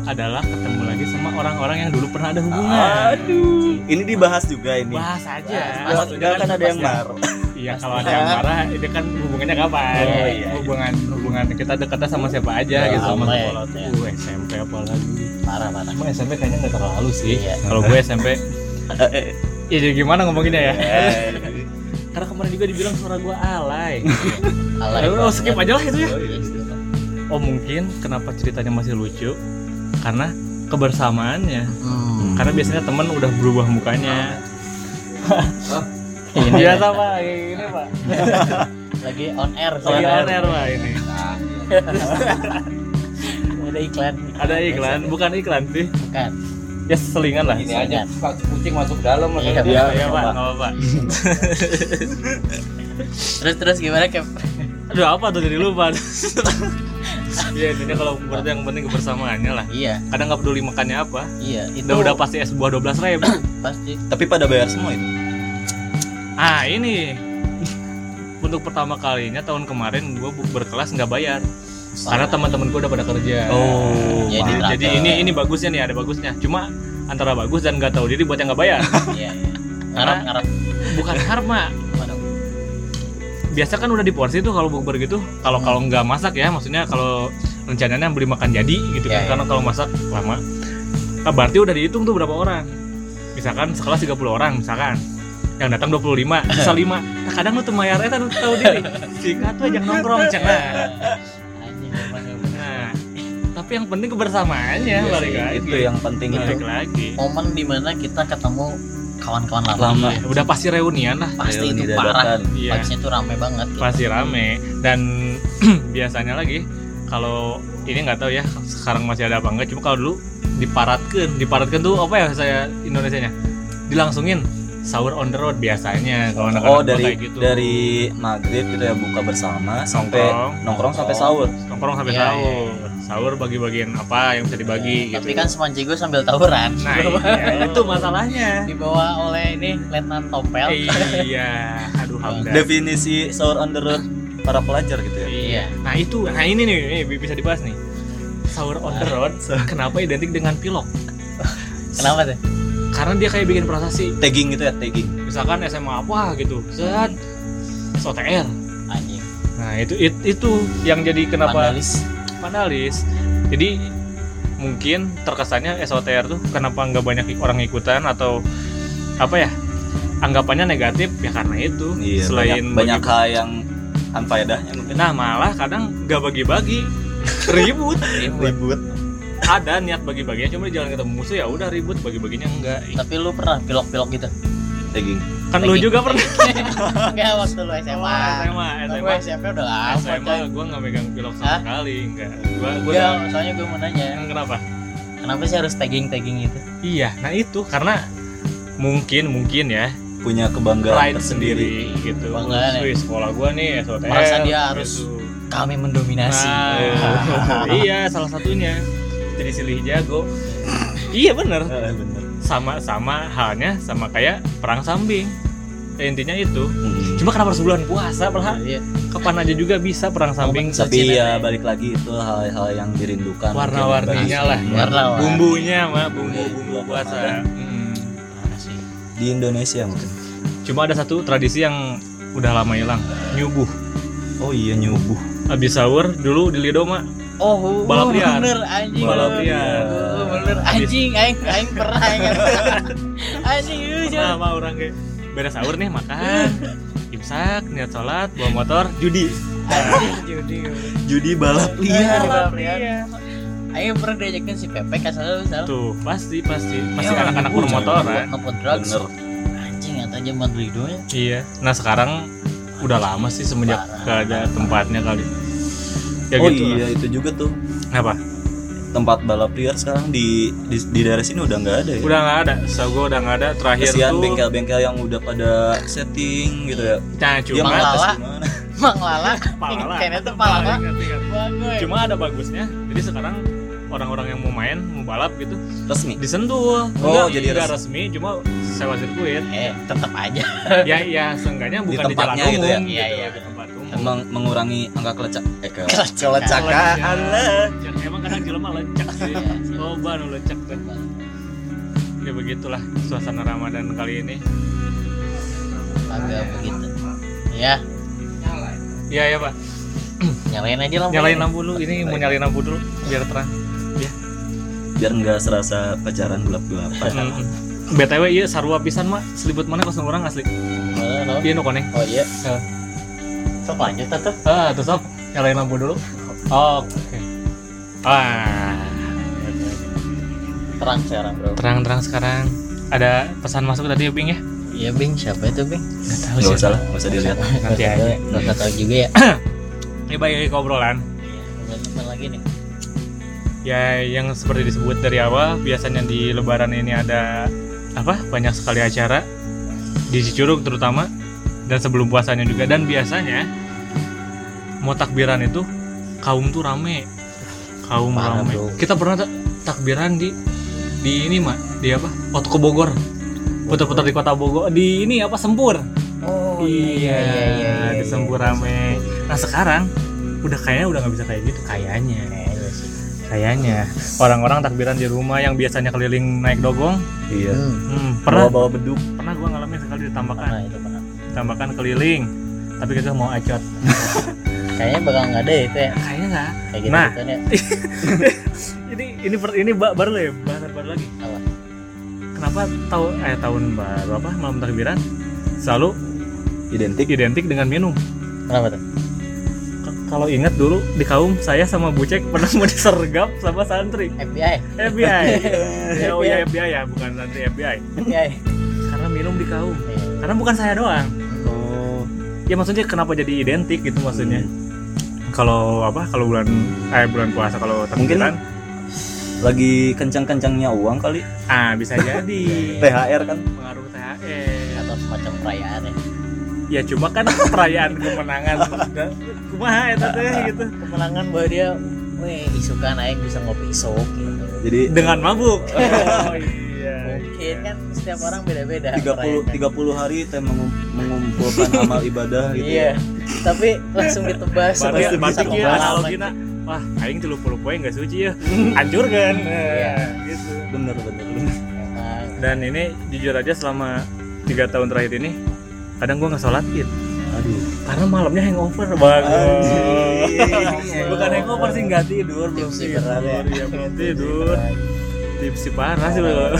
[SPEAKER 1] adalah ketemu lagi sama orang-orang yang dulu pernah ada hubungan.
[SPEAKER 2] aduh ini dibahas juga ini
[SPEAKER 1] Bahas aja.
[SPEAKER 3] Bahas,
[SPEAKER 1] Maksudnya
[SPEAKER 2] Enggak kan ada yang
[SPEAKER 1] pasti-
[SPEAKER 2] baru
[SPEAKER 1] Iya
[SPEAKER 3] Pasti.
[SPEAKER 1] kalau ada yang marah itu kan hubungannya kapan?
[SPEAKER 3] Iya,
[SPEAKER 2] iya.
[SPEAKER 1] Hubungan hubungan kita dekatnya sama siapa aja
[SPEAKER 3] Iya,
[SPEAKER 1] gitu sama
[SPEAKER 3] sama ya.
[SPEAKER 1] sekolah tuh. Uh, SMP apalagi.
[SPEAKER 3] Parah parah.
[SPEAKER 1] Cuma SMP kayaknya nggak terlalu sih.
[SPEAKER 3] Iya.
[SPEAKER 1] Kalau gue SMP ya jadi gimana ngomonginnya ya?
[SPEAKER 3] Iya.
[SPEAKER 2] Eh.
[SPEAKER 1] Karena kemarin juga dibilang suara gue alay.
[SPEAKER 3] Alay
[SPEAKER 1] Ya udah
[SPEAKER 3] banget.
[SPEAKER 1] skip aja lah itu ya.
[SPEAKER 2] Oh, iya.
[SPEAKER 1] Oh mungkin kenapa ceritanya masih lucu? Karena kebersamaannya.
[SPEAKER 3] Hmm.
[SPEAKER 1] Karena biasanya temen udah berubah mukanya. ya.
[SPEAKER 3] Ini
[SPEAKER 1] Biasa pak, ini pak.
[SPEAKER 3] lagi on air
[SPEAKER 1] Lagi
[SPEAKER 3] soalnya.
[SPEAKER 1] on air ya, pak ini.
[SPEAKER 3] Ada iklan.
[SPEAKER 1] Ada iklan, bukan iklan sih.
[SPEAKER 3] Bukan.
[SPEAKER 1] Ya selingan lah.
[SPEAKER 4] ini aja pak kucing masuk dalam lah
[SPEAKER 3] Iya.
[SPEAKER 1] Iya, iya pak, nggak apa-apa.
[SPEAKER 3] Terus terus gimana Kep?
[SPEAKER 1] Aduh apa tuh jadi lupa. Iya intinya kalau bukber tuh yang penting kebersamaannya lah.
[SPEAKER 3] Iya,
[SPEAKER 1] Kadang nggak peduli makannya apa.
[SPEAKER 3] iya. Itu
[SPEAKER 1] Udah udah pasti es buah 12 ribu.
[SPEAKER 3] pasti
[SPEAKER 2] tapi pada bayar semua itu
[SPEAKER 1] ah ini untuk pertama kalinya tahun kemarin gue berkelas nggak bayar. Karena teman-teman gue udah pada kerja.
[SPEAKER 2] oh
[SPEAKER 3] Jadi
[SPEAKER 1] Jadi,
[SPEAKER 3] terasa.
[SPEAKER 1] jadi ini ini bagusnya nih ada bagusnya. Cuma antara bagus dan nggak tahu diri buat yang nggak bayar.
[SPEAKER 3] iya. iya. Ngarap ngarap.
[SPEAKER 1] Bukan karma.
[SPEAKER 3] Waduh.
[SPEAKER 1] Biasa kan udah di porsi tuh kalau bukber gitu.
[SPEAKER 3] Hmm.
[SPEAKER 1] Kalau kalau nggak masak ya, maksudnya kalau rencananya beli makan jadi gitu kan.
[SPEAKER 3] Ya, ya.
[SPEAKER 1] Karena kalau masak lama. Nah, berarti udah dihitung tuh berapa orang. Misalkan sekelas 30 orang misalkan. Yang datang 25, sisa 5. Nah, kadang lu tuh mayar eta lu tahu diri. Sika tuh ajak nongkrong cenah.
[SPEAKER 3] Anjing, emang-
[SPEAKER 1] Nah, tapi yang penting kebersamaannya
[SPEAKER 2] Iya
[SPEAKER 1] balik
[SPEAKER 2] sih,
[SPEAKER 1] lagi.
[SPEAKER 2] itu yang penting
[SPEAKER 1] balik lagi.
[SPEAKER 3] Momen dimana kita ketemu kawan-kawan
[SPEAKER 2] Lama.
[SPEAKER 3] lama, ya.
[SPEAKER 1] udah pasti reunian lah
[SPEAKER 3] pasti
[SPEAKER 2] Reuni
[SPEAKER 3] itu parah
[SPEAKER 2] dadakan.
[SPEAKER 1] Iya.
[SPEAKER 3] vibesnya tuh rame banget gitu.
[SPEAKER 1] pasti rame dan biasanya lagi kalau ini nggak tahu ya sekarang masih ada apa enggak cuma kalau dulu diparatkan diparatkan tuh apa ya saya Indonesianya dilangsungin sahur on the road biasanya kalau anak-anak
[SPEAKER 2] Oh
[SPEAKER 1] gua
[SPEAKER 2] dari
[SPEAKER 1] kayak gitu
[SPEAKER 2] dari maghrib gitu ya buka bersama sampai
[SPEAKER 1] Nongkrong.
[SPEAKER 2] nongkrong sampai sahur.
[SPEAKER 1] nongkrong sampai
[SPEAKER 3] Iya,
[SPEAKER 1] sahur sahur bagi-bagian apa yang bisa dibagi
[SPEAKER 3] Tapi
[SPEAKER 1] gitu
[SPEAKER 3] kan semanji gue sambil tawuran.
[SPEAKER 1] nah iya, itu masalahnya
[SPEAKER 3] Dibawa oleh ini Letnan Topel.
[SPEAKER 1] iya aduh hamdan
[SPEAKER 2] Definisi sahur on the road para pelajar gitu ya.
[SPEAKER 1] Iya. Nah itu, nah ini nih ini bisa dibahas nih. Sahur on the road, kenapa identik dengan pilok?
[SPEAKER 3] Kenapa tuh?
[SPEAKER 1] Karena dia kayak bikin prestasi.
[SPEAKER 2] Tagging gitu ya, tagging.
[SPEAKER 1] Misalkan SMA apa gitu, set SOTR.
[SPEAKER 3] Anjing.
[SPEAKER 1] Nah itu it- itu yang jadi kenapa
[SPEAKER 3] Vandalis.
[SPEAKER 1] panelis. Jadi mungkin terkesannya SOTR tuh kenapa nggak banyak orang ikutan atau apa ya anggapannya negatif ya karena itu
[SPEAKER 2] Iya,
[SPEAKER 1] selain
[SPEAKER 2] banyak, banyak
[SPEAKER 1] bagi-
[SPEAKER 2] hal yang anfaedahnya mungkin.
[SPEAKER 1] nah malah kadang nggak bagi-bagi ribut
[SPEAKER 2] Ribut.
[SPEAKER 1] ada niat bagi-baginya cuma di jalan ketemu musuh ya udah ribut bagi-baginya enggak
[SPEAKER 3] Tapi lu pernah pilok-pilok gitu?
[SPEAKER 2] Tagging.
[SPEAKER 1] kan lu
[SPEAKER 3] Lagi.
[SPEAKER 1] juga pernah Oh,
[SPEAKER 3] Enggak waktu lu SMA.
[SPEAKER 1] SMA
[SPEAKER 3] Gue
[SPEAKER 1] SMA
[SPEAKER 3] SMP udah lama.
[SPEAKER 1] SMA
[SPEAKER 3] coy.
[SPEAKER 1] gue nggak megang pilok sama
[SPEAKER 3] Hah?
[SPEAKER 1] sekali enggak gua gua
[SPEAKER 3] Enggak, soalnya gue mau nanya,
[SPEAKER 1] Emang kenapa
[SPEAKER 3] kenapa sih harus tagging-tagging gitu?
[SPEAKER 1] iya nah itu karena mungkin mungkin ya
[SPEAKER 2] Punya kebanggaan
[SPEAKER 1] pride
[SPEAKER 2] tersendiri.
[SPEAKER 1] sendiri gitu
[SPEAKER 3] Banggaan ya.
[SPEAKER 1] Wih, sekolah gua nih SOTR
[SPEAKER 3] Merasa dia
[SPEAKER 1] gitu.
[SPEAKER 3] harus Kami mendominasi.
[SPEAKER 1] nah, iya salah satunya jadi silih jago iya bener
[SPEAKER 2] Eh, bener.
[SPEAKER 1] sama-sama halnya sama kayak perang sambing Ya, intinya itu
[SPEAKER 2] Mm.
[SPEAKER 1] cuma kenapa harus bulan puasa malah
[SPEAKER 3] Iya.
[SPEAKER 1] kapan aja juga bisa perang sambing Iya,
[SPEAKER 2] Tapi ya balik lagi itu hal-hal yang dirindukan.
[SPEAKER 1] warna-warninya lah
[SPEAKER 3] Warna
[SPEAKER 1] bumbunya mah bumbu bumbu puasa Mm.
[SPEAKER 2] di Indonesia mungkin.
[SPEAKER 1] cuma ada satu tradisi yang udah lama hilang nyuguh
[SPEAKER 2] Oh iya nyubuh.
[SPEAKER 1] habis sahur dulu di Lido mah
[SPEAKER 3] Oh,
[SPEAKER 1] Balap liar.
[SPEAKER 3] bener anjing.
[SPEAKER 1] Balap
[SPEAKER 3] bener.
[SPEAKER 1] liar.
[SPEAKER 3] Oh,
[SPEAKER 1] iya.
[SPEAKER 3] bener anjing, aing aing pernah aing. Anjing, lu
[SPEAKER 1] pernah
[SPEAKER 3] jangan.
[SPEAKER 1] sama orang kayak beres sahur nih makan imsak niat sholat bawa motor judi
[SPEAKER 3] Anjing, judi.
[SPEAKER 2] Judi balap
[SPEAKER 1] Iya,
[SPEAKER 2] liar.
[SPEAKER 3] Balap liar. Iya, Aing pernah diajakin si Pepe kasar lu salah.
[SPEAKER 1] tuh kan. pasti pasti pasti
[SPEAKER 2] Iya,
[SPEAKER 1] anak-anak
[SPEAKER 2] nyuguh,
[SPEAKER 1] bermotoran
[SPEAKER 3] Ngepot drugs.
[SPEAKER 2] Bener.
[SPEAKER 3] Anjing, atau aja buat beli doang.
[SPEAKER 1] Iya. Nah sekarang udah lama sih semenjak
[SPEAKER 3] Parah.
[SPEAKER 1] gak ada tempatnya kali. Ya
[SPEAKER 2] oh
[SPEAKER 1] gitu.
[SPEAKER 2] iya itu juga tuh
[SPEAKER 1] Lah. Apa?
[SPEAKER 2] tempat balap liar sekarang di di, di daerah sini udah nggak ada ya.
[SPEAKER 1] Udah nggak ada. So gue udah nggak ada. Terakhir
[SPEAKER 2] Kasihan
[SPEAKER 1] tuh.
[SPEAKER 2] bengkel-bengkel yang udah pada setting gitu ya.
[SPEAKER 1] Nah
[SPEAKER 2] Dia
[SPEAKER 1] cuma
[SPEAKER 3] Emang
[SPEAKER 2] mau atas
[SPEAKER 3] lala.
[SPEAKER 2] gimana?
[SPEAKER 3] Mang Lala.
[SPEAKER 1] Palala.
[SPEAKER 3] Kayaknya tuh Palala.
[SPEAKER 1] Ingat, ingat. Cuma ada bagusnya. Jadi sekarang orang-orang yang mau main mau balap gitu
[SPEAKER 2] Resmi.
[SPEAKER 1] disentuh.
[SPEAKER 2] Oh, jadi
[SPEAKER 1] nggak resmi. Cuma sewa sirkuit.
[SPEAKER 3] Eh, tetap aja.
[SPEAKER 1] ya ya seenggaknya
[SPEAKER 2] Di
[SPEAKER 1] bukan di, jalan
[SPEAKER 2] tempatnya
[SPEAKER 1] umum
[SPEAKER 2] gitu ya?
[SPEAKER 1] gitu,
[SPEAKER 3] Iya, iya.
[SPEAKER 1] di tempat umum.
[SPEAKER 2] Emang mengurangi angka kelecak. Eh, ke-
[SPEAKER 1] Kelacakan
[SPEAKER 2] kelacakan lah.
[SPEAKER 1] Ya, emang kadang jelema lecek sih loba nu lecek kan ya begitulah suasana ramadan kali ini
[SPEAKER 3] Agak begitu. Ya,
[SPEAKER 1] iya ya pak
[SPEAKER 3] nyalain aja lampu.
[SPEAKER 1] nyalain lampu dulu ini mau nyalain lampu dulu biar terang
[SPEAKER 2] Biar nggak serasa pacaran gelap-gelapan.
[SPEAKER 1] Hmm. btw iya sarua pisan mak selibut mana kosong orang asli
[SPEAKER 3] Halo.
[SPEAKER 1] iya nu koneng
[SPEAKER 3] Oh iya.
[SPEAKER 1] Eh.
[SPEAKER 3] Sok lanjut tetep.
[SPEAKER 1] ah terus sob nyalain lampu dulu oh, oke ah
[SPEAKER 3] Terang sekarang, Bro.
[SPEAKER 1] terang terang sekarang ada pesan masuk tadi ya Bing ya
[SPEAKER 3] Iya, Bing, siapa itu, Bing?
[SPEAKER 1] nggak tahu
[SPEAKER 2] Nggak
[SPEAKER 1] sih
[SPEAKER 2] usah lah, nggak usah dilihat.
[SPEAKER 1] nanti aja
[SPEAKER 3] Enggak tahu juga ya.
[SPEAKER 1] ini balik lagi ke obrolan
[SPEAKER 3] Teman-teman lagi nih.
[SPEAKER 1] ya yang seperti disebut dari awal biasanya di lebaran ini ada apa banyak sekali acara di Cicurug terutama dan sebelum puasanya juga dan biasanya mau takbiran itu kaum tuh rame kaum
[SPEAKER 3] Parah,
[SPEAKER 1] rame
[SPEAKER 3] bro.
[SPEAKER 1] kita pernah tak- takbiran di di ini mah di apa Otko Bogor putar-putar di kota Bogor di ini apa Sempur
[SPEAKER 3] Oh
[SPEAKER 1] iya,
[SPEAKER 3] iya,
[SPEAKER 1] di Sempur rame nah sekarang udah kayaknya udah nggak bisa kayak gitu kayaknya kayaknya orang-orang takbiran di rumah yang biasanya keliling naik dogong
[SPEAKER 2] Iya.
[SPEAKER 3] Hmm,
[SPEAKER 1] hmm, pernah
[SPEAKER 2] Bawa-bawa beduk.
[SPEAKER 1] pernah gua ngalamin sekali ditambahkan
[SPEAKER 3] pernah itu pernah.
[SPEAKER 1] ditambahkan keliling tapi kita mau acot
[SPEAKER 3] Kayaknya bakal nggak ada ya itu ya.
[SPEAKER 1] kayaknya nggak
[SPEAKER 3] Kayak gitu
[SPEAKER 1] Nah.
[SPEAKER 3] gitu ya.
[SPEAKER 1] ini ini per, ini ba- baru ya bahan baru lagi
[SPEAKER 3] Apa?
[SPEAKER 1] kenapa tahun eh tahun baru apa malam takbiran selalu
[SPEAKER 2] Identik.
[SPEAKER 1] identik dengan minum
[SPEAKER 3] Kenapa tuh?
[SPEAKER 1] K- kalau ingat dulu di kaum saya sama Bucek pernah mau disergap sama santri
[SPEAKER 3] FBI,
[SPEAKER 1] iya, FBI ya oh ya FBI ya bukan santri FBI
[SPEAKER 3] FBI.
[SPEAKER 1] karena minum di kaum
[SPEAKER 3] Iya.
[SPEAKER 1] karena bukan saya doang
[SPEAKER 2] oh
[SPEAKER 1] ya maksudnya kenapa jadi identik gitu maksudnya kalau apa kalau bulan eh bulan puasa kalau
[SPEAKER 2] Mungkin-
[SPEAKER 1] takbiran
[SPEAKER 2] lagi kencang-kencangnya uang kali
[SPEAKER 1] ah bisa jadi
[SPEAKER 2] THR kan
[SPEAKER 1] pengaruh THR
[SPEAKER 3] atau semacam perayaan ya
[SPEAKER 1] ya cuma kan perayaan kemenangan maksudnya kumaha eta teh gitu
[SPEAKER 3] kemenangan bahwa dia weh isukan aing bisa ngopi sok gitu
[SPEAKER 2] jadi
[SPEAKER 1] dengan mabuk oh iya
[SPEAKER 3] mungkin kan setiap orang beda-beda kan.
[SPEAKER 2] 30
[SPEAKER 3] perayaannya.
[SPEAKER 2] 30 hari teh mengum- mengumpulkan amal ibadah
[SPEAKER 1] ya.
[SPEAKER 2] gitu
[SPEAKER 3] iya tapi langsung ditebas
[SPEAKER 1] Berarti
[SPEAKER 3] sebagai
[SPEAKER 1] berarti
[SPEAKER 3] satu
[SPEAKER 1] kieu
[SPEAKER 3] malam
[SPEAKER 1] analogina wah aing 30 poe enggak suci ya hancur kan gitu
[SPEAKER 2] ya. bener bener
[SPEAKER 3] Emang.
[SPEAKER 1] dan ini jujur aja selama tiga tahun terakhir ini kadang gua nggak sholat Id.
[SPEAKER 2] aduh
[SPEAKER 1] karena malamnya hangover banget
[SPEAKER 2] Anjing.
[SPEAKER 1] bukan hangover sih nggak tidur belum
[SPEAKER 3] Tipsi
[SPEAKER 1] tidur
[SPEAKER 3] berat ya.
[SPEAKER 1] ya belum tidur tipsi parah sih belum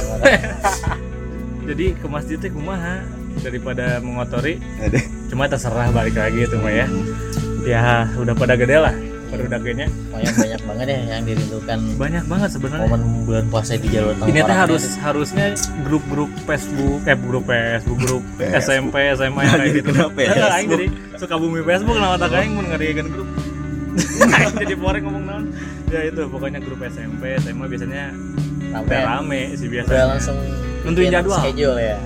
[SPEAKER 1] jadi ke masjid teh kumaha daripada mengotori
[SPEAKER 2] Aduh.
[SPEAKER 1] cuma terserah balik lagi itu mah ya ya udah pada gede lah pada udah gedenya
[SPEAKER 3] Pokoknya banyak banget ya yang dirindukan
[SPEAKER 1] banyak banget sebenarnya
[SPEAKER 3] momen bulan puasa di jalur tengah
[SPEAKER 1] ini teh
[SPEAKER 3] Barat
[SPEAKER 1] harus harusnya grup-grup Facebook eh grup Facebook grup SMP SMA yang kayak
[SPEAKER 2] Jadi
[SPEAKER 1] gitu
[SPEAKER 2] kenapa ya?
[SPEAKER 1] Heeh, aing jadi suka bumi Facebook kenapa tak aing mun ngariekeun grup Aing jadi pore ngomong naon ya itu pokoknya grup SMP SMA biasanya
[SPEAKER 3] Rame.
[SPEAKER 1] teh rame sih
[SPEAKER 3] udah
[SPEAKER 1] biasanya
[SPEAKER 3] langsung
[SPEAKER 1] Nentuin
[SPEAKER 3] bikin
[SPEAKER 1] jadwal.
[SPEAKER 3] schedule ya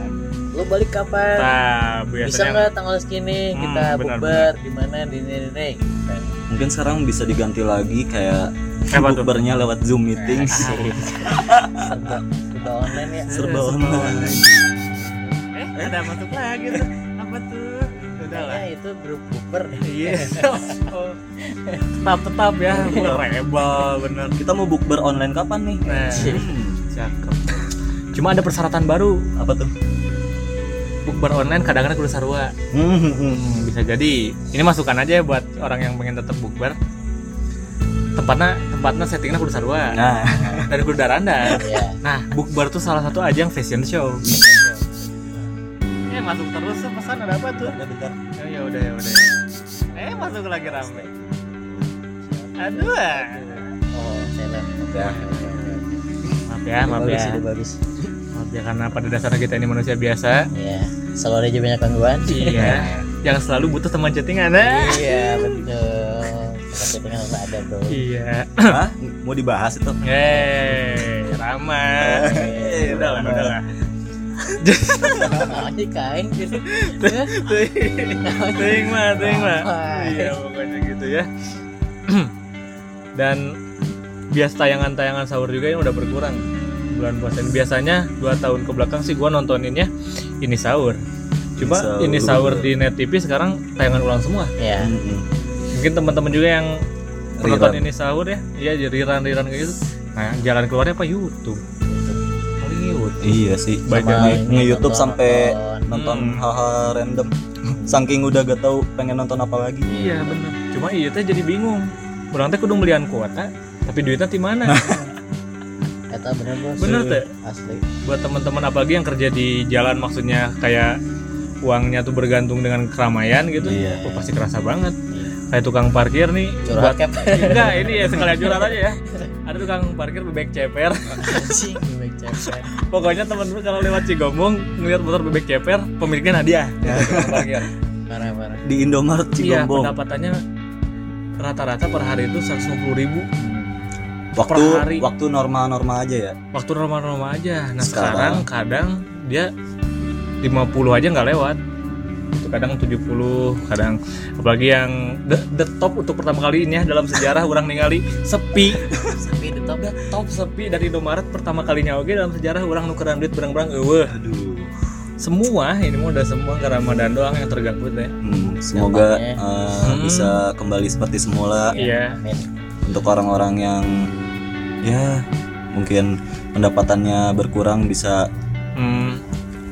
[SPEAKER 3] lu balik kapan
[SPEAKER 1] nah
[SPEAKER 3] bisa
[SPEAKER 1] biasanya
[SPEAKER 3] nggak tanggal segini
[SPEAKER 1] Hmm,
[SPEAKER 3] kita
[SPEAKER 1] benar,
[SPEAKER 3] bukber di mana di ini di ini Kita
[SPEAKER 2] mungkin sekarang bisa diganti lagi kayak
[SPEAKER 1] Apa tuh?
[SPEAKER 2] bukbernya lewat zoom meeting
[SPEAKER 1] Ah, gitu.
[SPEAKER 3] serba serba online ya
[SPEAKER 2] serba online
[SPEAKER 1] eh ada masuk lagi tuh apa tuh udah lah
[SPEAKER 3] Kayaknya itu grup bukber
[SPEAKER 1] iya tetap tetap ya rebel bener
[SPEAKER 2] kita mau bukber online kapan nih
[SPEAKER 1] nah
[SPEAKER 2] Hmm,
[SPEAKER 1] cakep cuma ada persyaratan baru
[SPEAKER 2] apa tuh
[SPEAKER 1] bukber online kadang-kadang kudu sarua
[SPEAKER 2] Hmm, hmm, hmm.
[SPEAKER 1] bisa jadi ini masukan aja ya buat orang yang pengen tetap bukber tempatnya tempatnya settingnya kudu sarua
[SPEAKER 2] nah
[SPEAKER 1] dari kudu daranda
[SPEAKER 3] ya
[SPEAKER 1] nah bukber tuh salah satu ajang fashion show ya masuk terus tuh, pesan ada apa tuh
[SPEAKER 2] bentar
[SPEAKER 1] ya ya udah ya udah eh masuk lagi rame aduh ah.
[SPEAKER 3] oh seleb
[SPEAKER 2] Ya.
[SPEAKER 1] maaf ya maaf
[SPEAKER 3] bagus
[SPEAKER 1] ya
[SPEAKER 3] itu bagus
[SPEAKER 1] maaf ya karena pada dasarnya kita ini manusia biasa
[SPEAKER 3] ya selalu ada aja banyak gangguan
[SPEAKER 1] iya yang selalu butuh teman chattingan ah.
[SPEAKER 3] iya betul kita harus ada bro
[SPEAKER 1] iya
[SPEAKER 2] Hah? mau dibahas itu
[SPEAKER 1] eh ramah
[SPEAKER 3] Eh,
[SPEAKER 1] udah lah udah lah
[SPEAKER 3] Makanya kain gitu.
[SPEAKER 1] Ting mah, ting mah.
[SPEAKER 3] Ramai.
[SPEAKER 1] Iya, pokoknya gitu ya. Dan bias tayangan-tayangan sahur juga yang udah berkurang bulan puasa. ini. Biasanya dua tahun ke belakang sih gua nontoninnya ini sahur. Coba
[SPEAKER 2] Ini
[SPEAKER 1] ini
[SPEAKER 2] Sahur.
[SPEAKER 1] sahur di Net TV sekarang tayangan ulang semua.
[SPEAKER 3] Ya,
[SPEAKER 2] Hmm, hmm.
[SPEAKER 1] Mungkin teman-teman juga yang
[SPEAKER 2] Rerun.
[SPEAKER 1] nonton ini sahur ya. Iya, jadi riran-riran kayak gitu. Nah, jalan keluarnya apa YouTube? Paling YouTube.
[SPEAKER 2] Iya sih,
[SPEAKER 1] Sama
[SPEAKER 2] banyak nge-
[SPEAKER 3] ini
[SPEAKER 2] nge-YouTube
[SPEAKER 3] nonton-
[SPEAKER 2] sampai
[SPEAKER 3] nonton.
[SPEAKER 2] nonton
[SPEAKER 1] Hmm.
[SPEAKER 2] hal-hal random. Saking udah gak tahu pengen nonton apa lagi.
[SPEAKER 1] Iya benar. Cuma iya teh jadi bingung. Orang teh kudu melian kuota, tapi duitnya di mana?
[SPEAKER 3] kata bener bos.
[SPEAKER 1] Bener teh.
[SPEAKER 3] Asli.
[SPEAKER 1] Buat teman-teman apalagi yang kerja di jalan maksudnya kayak uangnya tuh bergantung dengan keramaian gitu,
[SPEAKER 2] Iya.
[SPEAKER 1] tuh pasti kerasa banget. Kayak tukang parkir nih
[SPEAKER 3] Curhat kan?
[SPEAKER 1] buat
[SPEAKER 3] cap.
[SPEAKER 1] enggak ini ya sekalian curhat aja ya. Ada tukang parkir bebek ceper.
[SPEAKER 3] Anjing, gue baik ceper.
[SPEAKER 1] Pokoknya teman-teman kalau lewat Cigombong ngelihat motor bebek ceper, pemiliknya Nadia. Tukang parkir.
[SPEAKER 3] Parah parah.
[SPEAKER 2] Di Indomaret
[SPEAKER 1] Iya,
[SPEAKER 2] Cigombong.
[SPEAKER 1] pendapatannya rata-rata per hari itu 150 ribu
[SPEAKER 2] waktu
[SPEAKER 1] per hari.
[SPEAKER 2] waktu normal-normal aja ya.
[SPEAKER 1] waktu normal-normal aja. Nah
[SPEAKER 2] Sekarang.
[SPEAKER 1] sekarang, kadang dia 50 aja nggak lewat. Itu kadang 70, kadang apalagi yang the, the top untuk pertama kalinya dalam sejarah orang ningali sepi.
[SPEAKER 3] Sepi di top.
[SPEAKER 1] The top sepi dari Indomaret pertama kalinya oke dalam sejarah orang nukeran duit berang-berang eueuh.
[SPEAKER 2] Aduh.
[SPEAKER 1] Semua ini mah udah semua ke Ramadan doang yang terganggu teh.
[SPEAKER 2] Hmm, semoga
[SPEAKER 3] Gampangnya.
[SPEAKER 2] eh,
[SPEAKER 1] Hmm.
[SPEAKER 2] bisa kembali seperti semula
[SPEAKER 1] Iya.
[SPEAKER 3] Amin.
[SPEAKER 2] untuk orang-orang yang ya mungkin pendapatannya berkurang bisa
[SPEAKER 1] Hmm,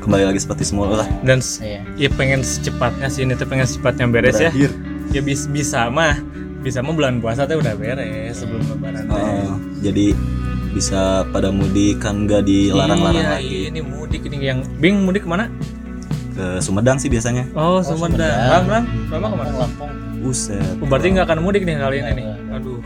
[SPEAKER 2] kembali lagi seperti semula lah.
[SPEAKER 1] dan s-
[SPEAKER 3] Iya.
[SPEAKER 1] ya pengen secepatnya sih ini tuh pengen secepatnya beres ya.
[SPEAKER 2] Berakhir.
[SPEAKER 1] Ya bis- bisa mah bisa mah bulan puasa teh udah beres sebelum lebaran teh.
[SPEAKER 2] Eh, jadi bisa pada mudik kan gak dilarang-larang
[SPEAKER 1] iya,
[SPEAKER 2] lagi
[SPEAKER 1] ini mudik ini yang Bing mudik kemana?
[SPEAKER 2] ke Sumedang sih biasanya.
[SPEAKER 1] Oh, Sumedang.
[SPEAKER 3] Sumedang.
[SPEAKER 1] Bang, Bang, Bang kemana?
[SPEAKER 3] Lampung.
[SPEAKER 2] Buset. Iya.
[SPEAKER 1] Oh, Berarti nggak akan mudik nih kali ini. nih.
[SPEAKER 3] Nggak,
[SPEAKER 1] Aduh,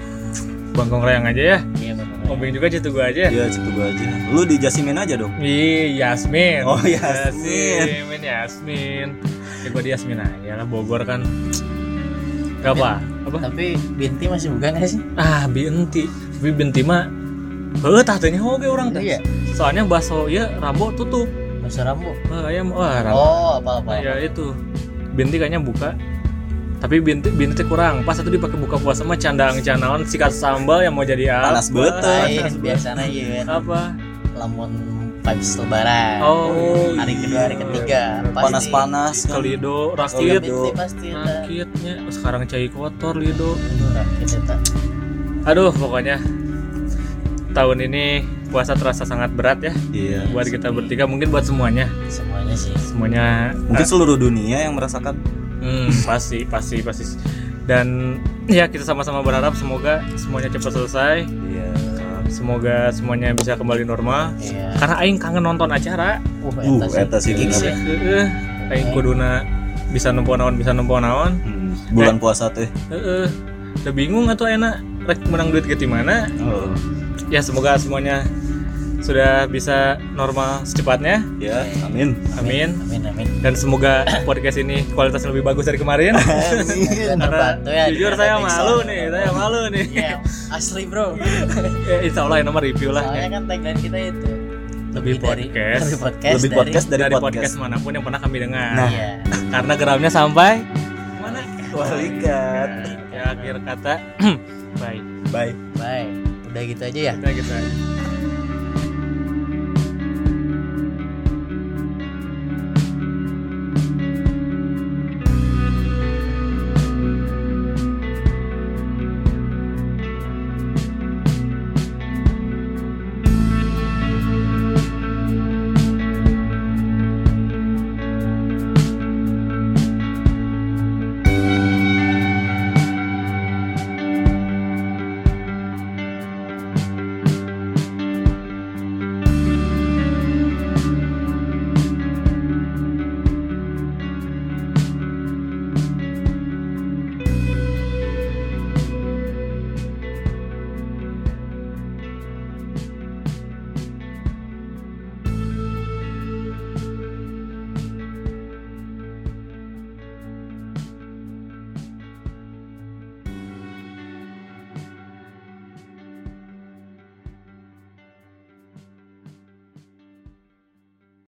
[SPEAKER 1] Bangkong Reang aja ya.
[SPEAKER 3] Iya benar.
[SPEAKER 1] Ngomong juga situ gua aja.
[SPEAKER 2] Iya, situ gua aja. Lu di Jasimin aja dong.
[SPEAKER 1] Ih, Yasmin.
[SPEAKER 2] Oh, Yasmin.
[SPEAKER 1] Yasmin, Yasmin. Ya gua di Yasmin aja lah Bogor kan. Gak apa? Apa?
[SPEAKER 3] Tapi Binti masih buka nggak sih?
[SPEAKER 1] Ah, binti. Tapi binti mah heuh tah teh oge urang teh.
[SPEAKER 3] Iya.
[SPEAKER 1] Soalnya baso ieu rambo tutup.
[SPEAKER 3] Masa Rambo.
[SPEAKER 1] Ah, aya mah wah, rambo.
[SPEAKER 3] Oh, apa-apa.
[SPEAKER 1] Ya itu. Binti kayaknya buka. Tapi binti binti teh kurang. Pas itu dipakai buka puasa mah candang-candalan sikat sambal yang mau jadi apa?
[SPEAKER 2] Panas beuteut.
[SPEAKER 3] Lain biasanya iya
[SPEAKER 1] Apa?
[SPEAKER 3] lamun vibes lebaran.
[SPEAKER 1] Oh,
[SPEAKER 3] hari kedua, hari ketiga. pasti.
[SPEAKER 2] Panas-panas kan.
[SPEAKER 1] Kalido
[SPEAKER 2] Iya,
[SPEAKER 1] rakit.
[SPEAKER 2] Kalido.
[SPEAKER 3] Binti pasti eta.
[SPEAKER 1] Nah, Rakitnya gitu. Oh, sekarang cai kotor lido.
[SPEAKER 3] Aduh, rakit eta.
[SPEAKER 1] Aduh, pokoknya tahun ini puasa terasa sangat berat ya
[SPEAKER 2] Iya.
[SPEAKER 1] buat kita bertiga mungkin buat semuanya
[SPEAKER 3] Semuanya sih.
[SPEAKER 1] semuanya
[SPEAKER 2] Mungkin seluruh dunia yang merasakan
[SPEAKER 1] Hmm, pasti, pasti, pasti. Dan ya kita sama-sama berharap semoga semuanya cepat selesai,
[SPEAKER 2] Iya.
[SPEAKER 1] semoga semuanya bisa kembali normal.
[SPEAKER 3] Iya.
[SPEAKER 1] Karena aing kangen nonton acara. Iya.
[SPEAKER 2] Uh,
[SPEAKER 3] Uh,
[SPEAKER 2] eta sih gila.
[SPEAKER 3] Gigs ya.
[SPEAKER 1] Heeh. Aing
[SPEAKER 3] Iya.
[SPEAKER 1] kuduna bisa nempo naon, bisa nempo naon.
[SPEAKER 2] Hmm,
[SPEAKER 1] Eh.
[SPEAKER 2] bulan puasa teh.
[SPEAKER 1] Heeh. Udah bingung atau enak rek menang duit ke mana?
[SPEAKER 2] Oh.
[SPEAKER 1] Ya semoga semuanya sudah bisa normal secepatnya.
[SPEAKER 2] Ya, amin.
[SPEAKER 1] Amin.
[SPEAKER 3] Amin, amin.
[SPEAKER 1] Dan semoga podcast ini kualitasnya lebih bagus dari kemarin. Karena
[SPEAKER 3] Terbantu ya,
[SPEAKER 1] jujur
[SPEAKER 3] dengan
[SPEAKER 1] saya
[SPEAKER 3] backsound.
[SPEAKER 1] malu nih, saya malu nih.
[SPEAKER 3] Iya, asli bro.
[SPEAKER 1] Ya, insya Allah yang nomor review lah
[SPEAKER 3] Soalnya kan tagline kita itu
[SPEAKER 1] Lebih podcast.
[SPEAKER 3] dari, lebih podcast
[SPEAKER 2] Lebih
[SPEAKER 3] dari-
[SPEAKER 2] podcast dari,
[SPEAKER 1] dari, podcast.
[SPEAKER 2] podcast.
[SPEAKER 1] manapun yang pernah kami dengar
[SPEAKER 2] Nah.
[SPEAKER 3] Iya.
[SPEAKER 1] karena geramnya sampai mana
[SPEAKER 2] Walikat.
[SPEAKER 1] ya akhir kata baik
[SPEAKER 2] Bye.
[SPEAKER 3] Baik, udah gitu aja ya.
[SPEAKER 1] kita kita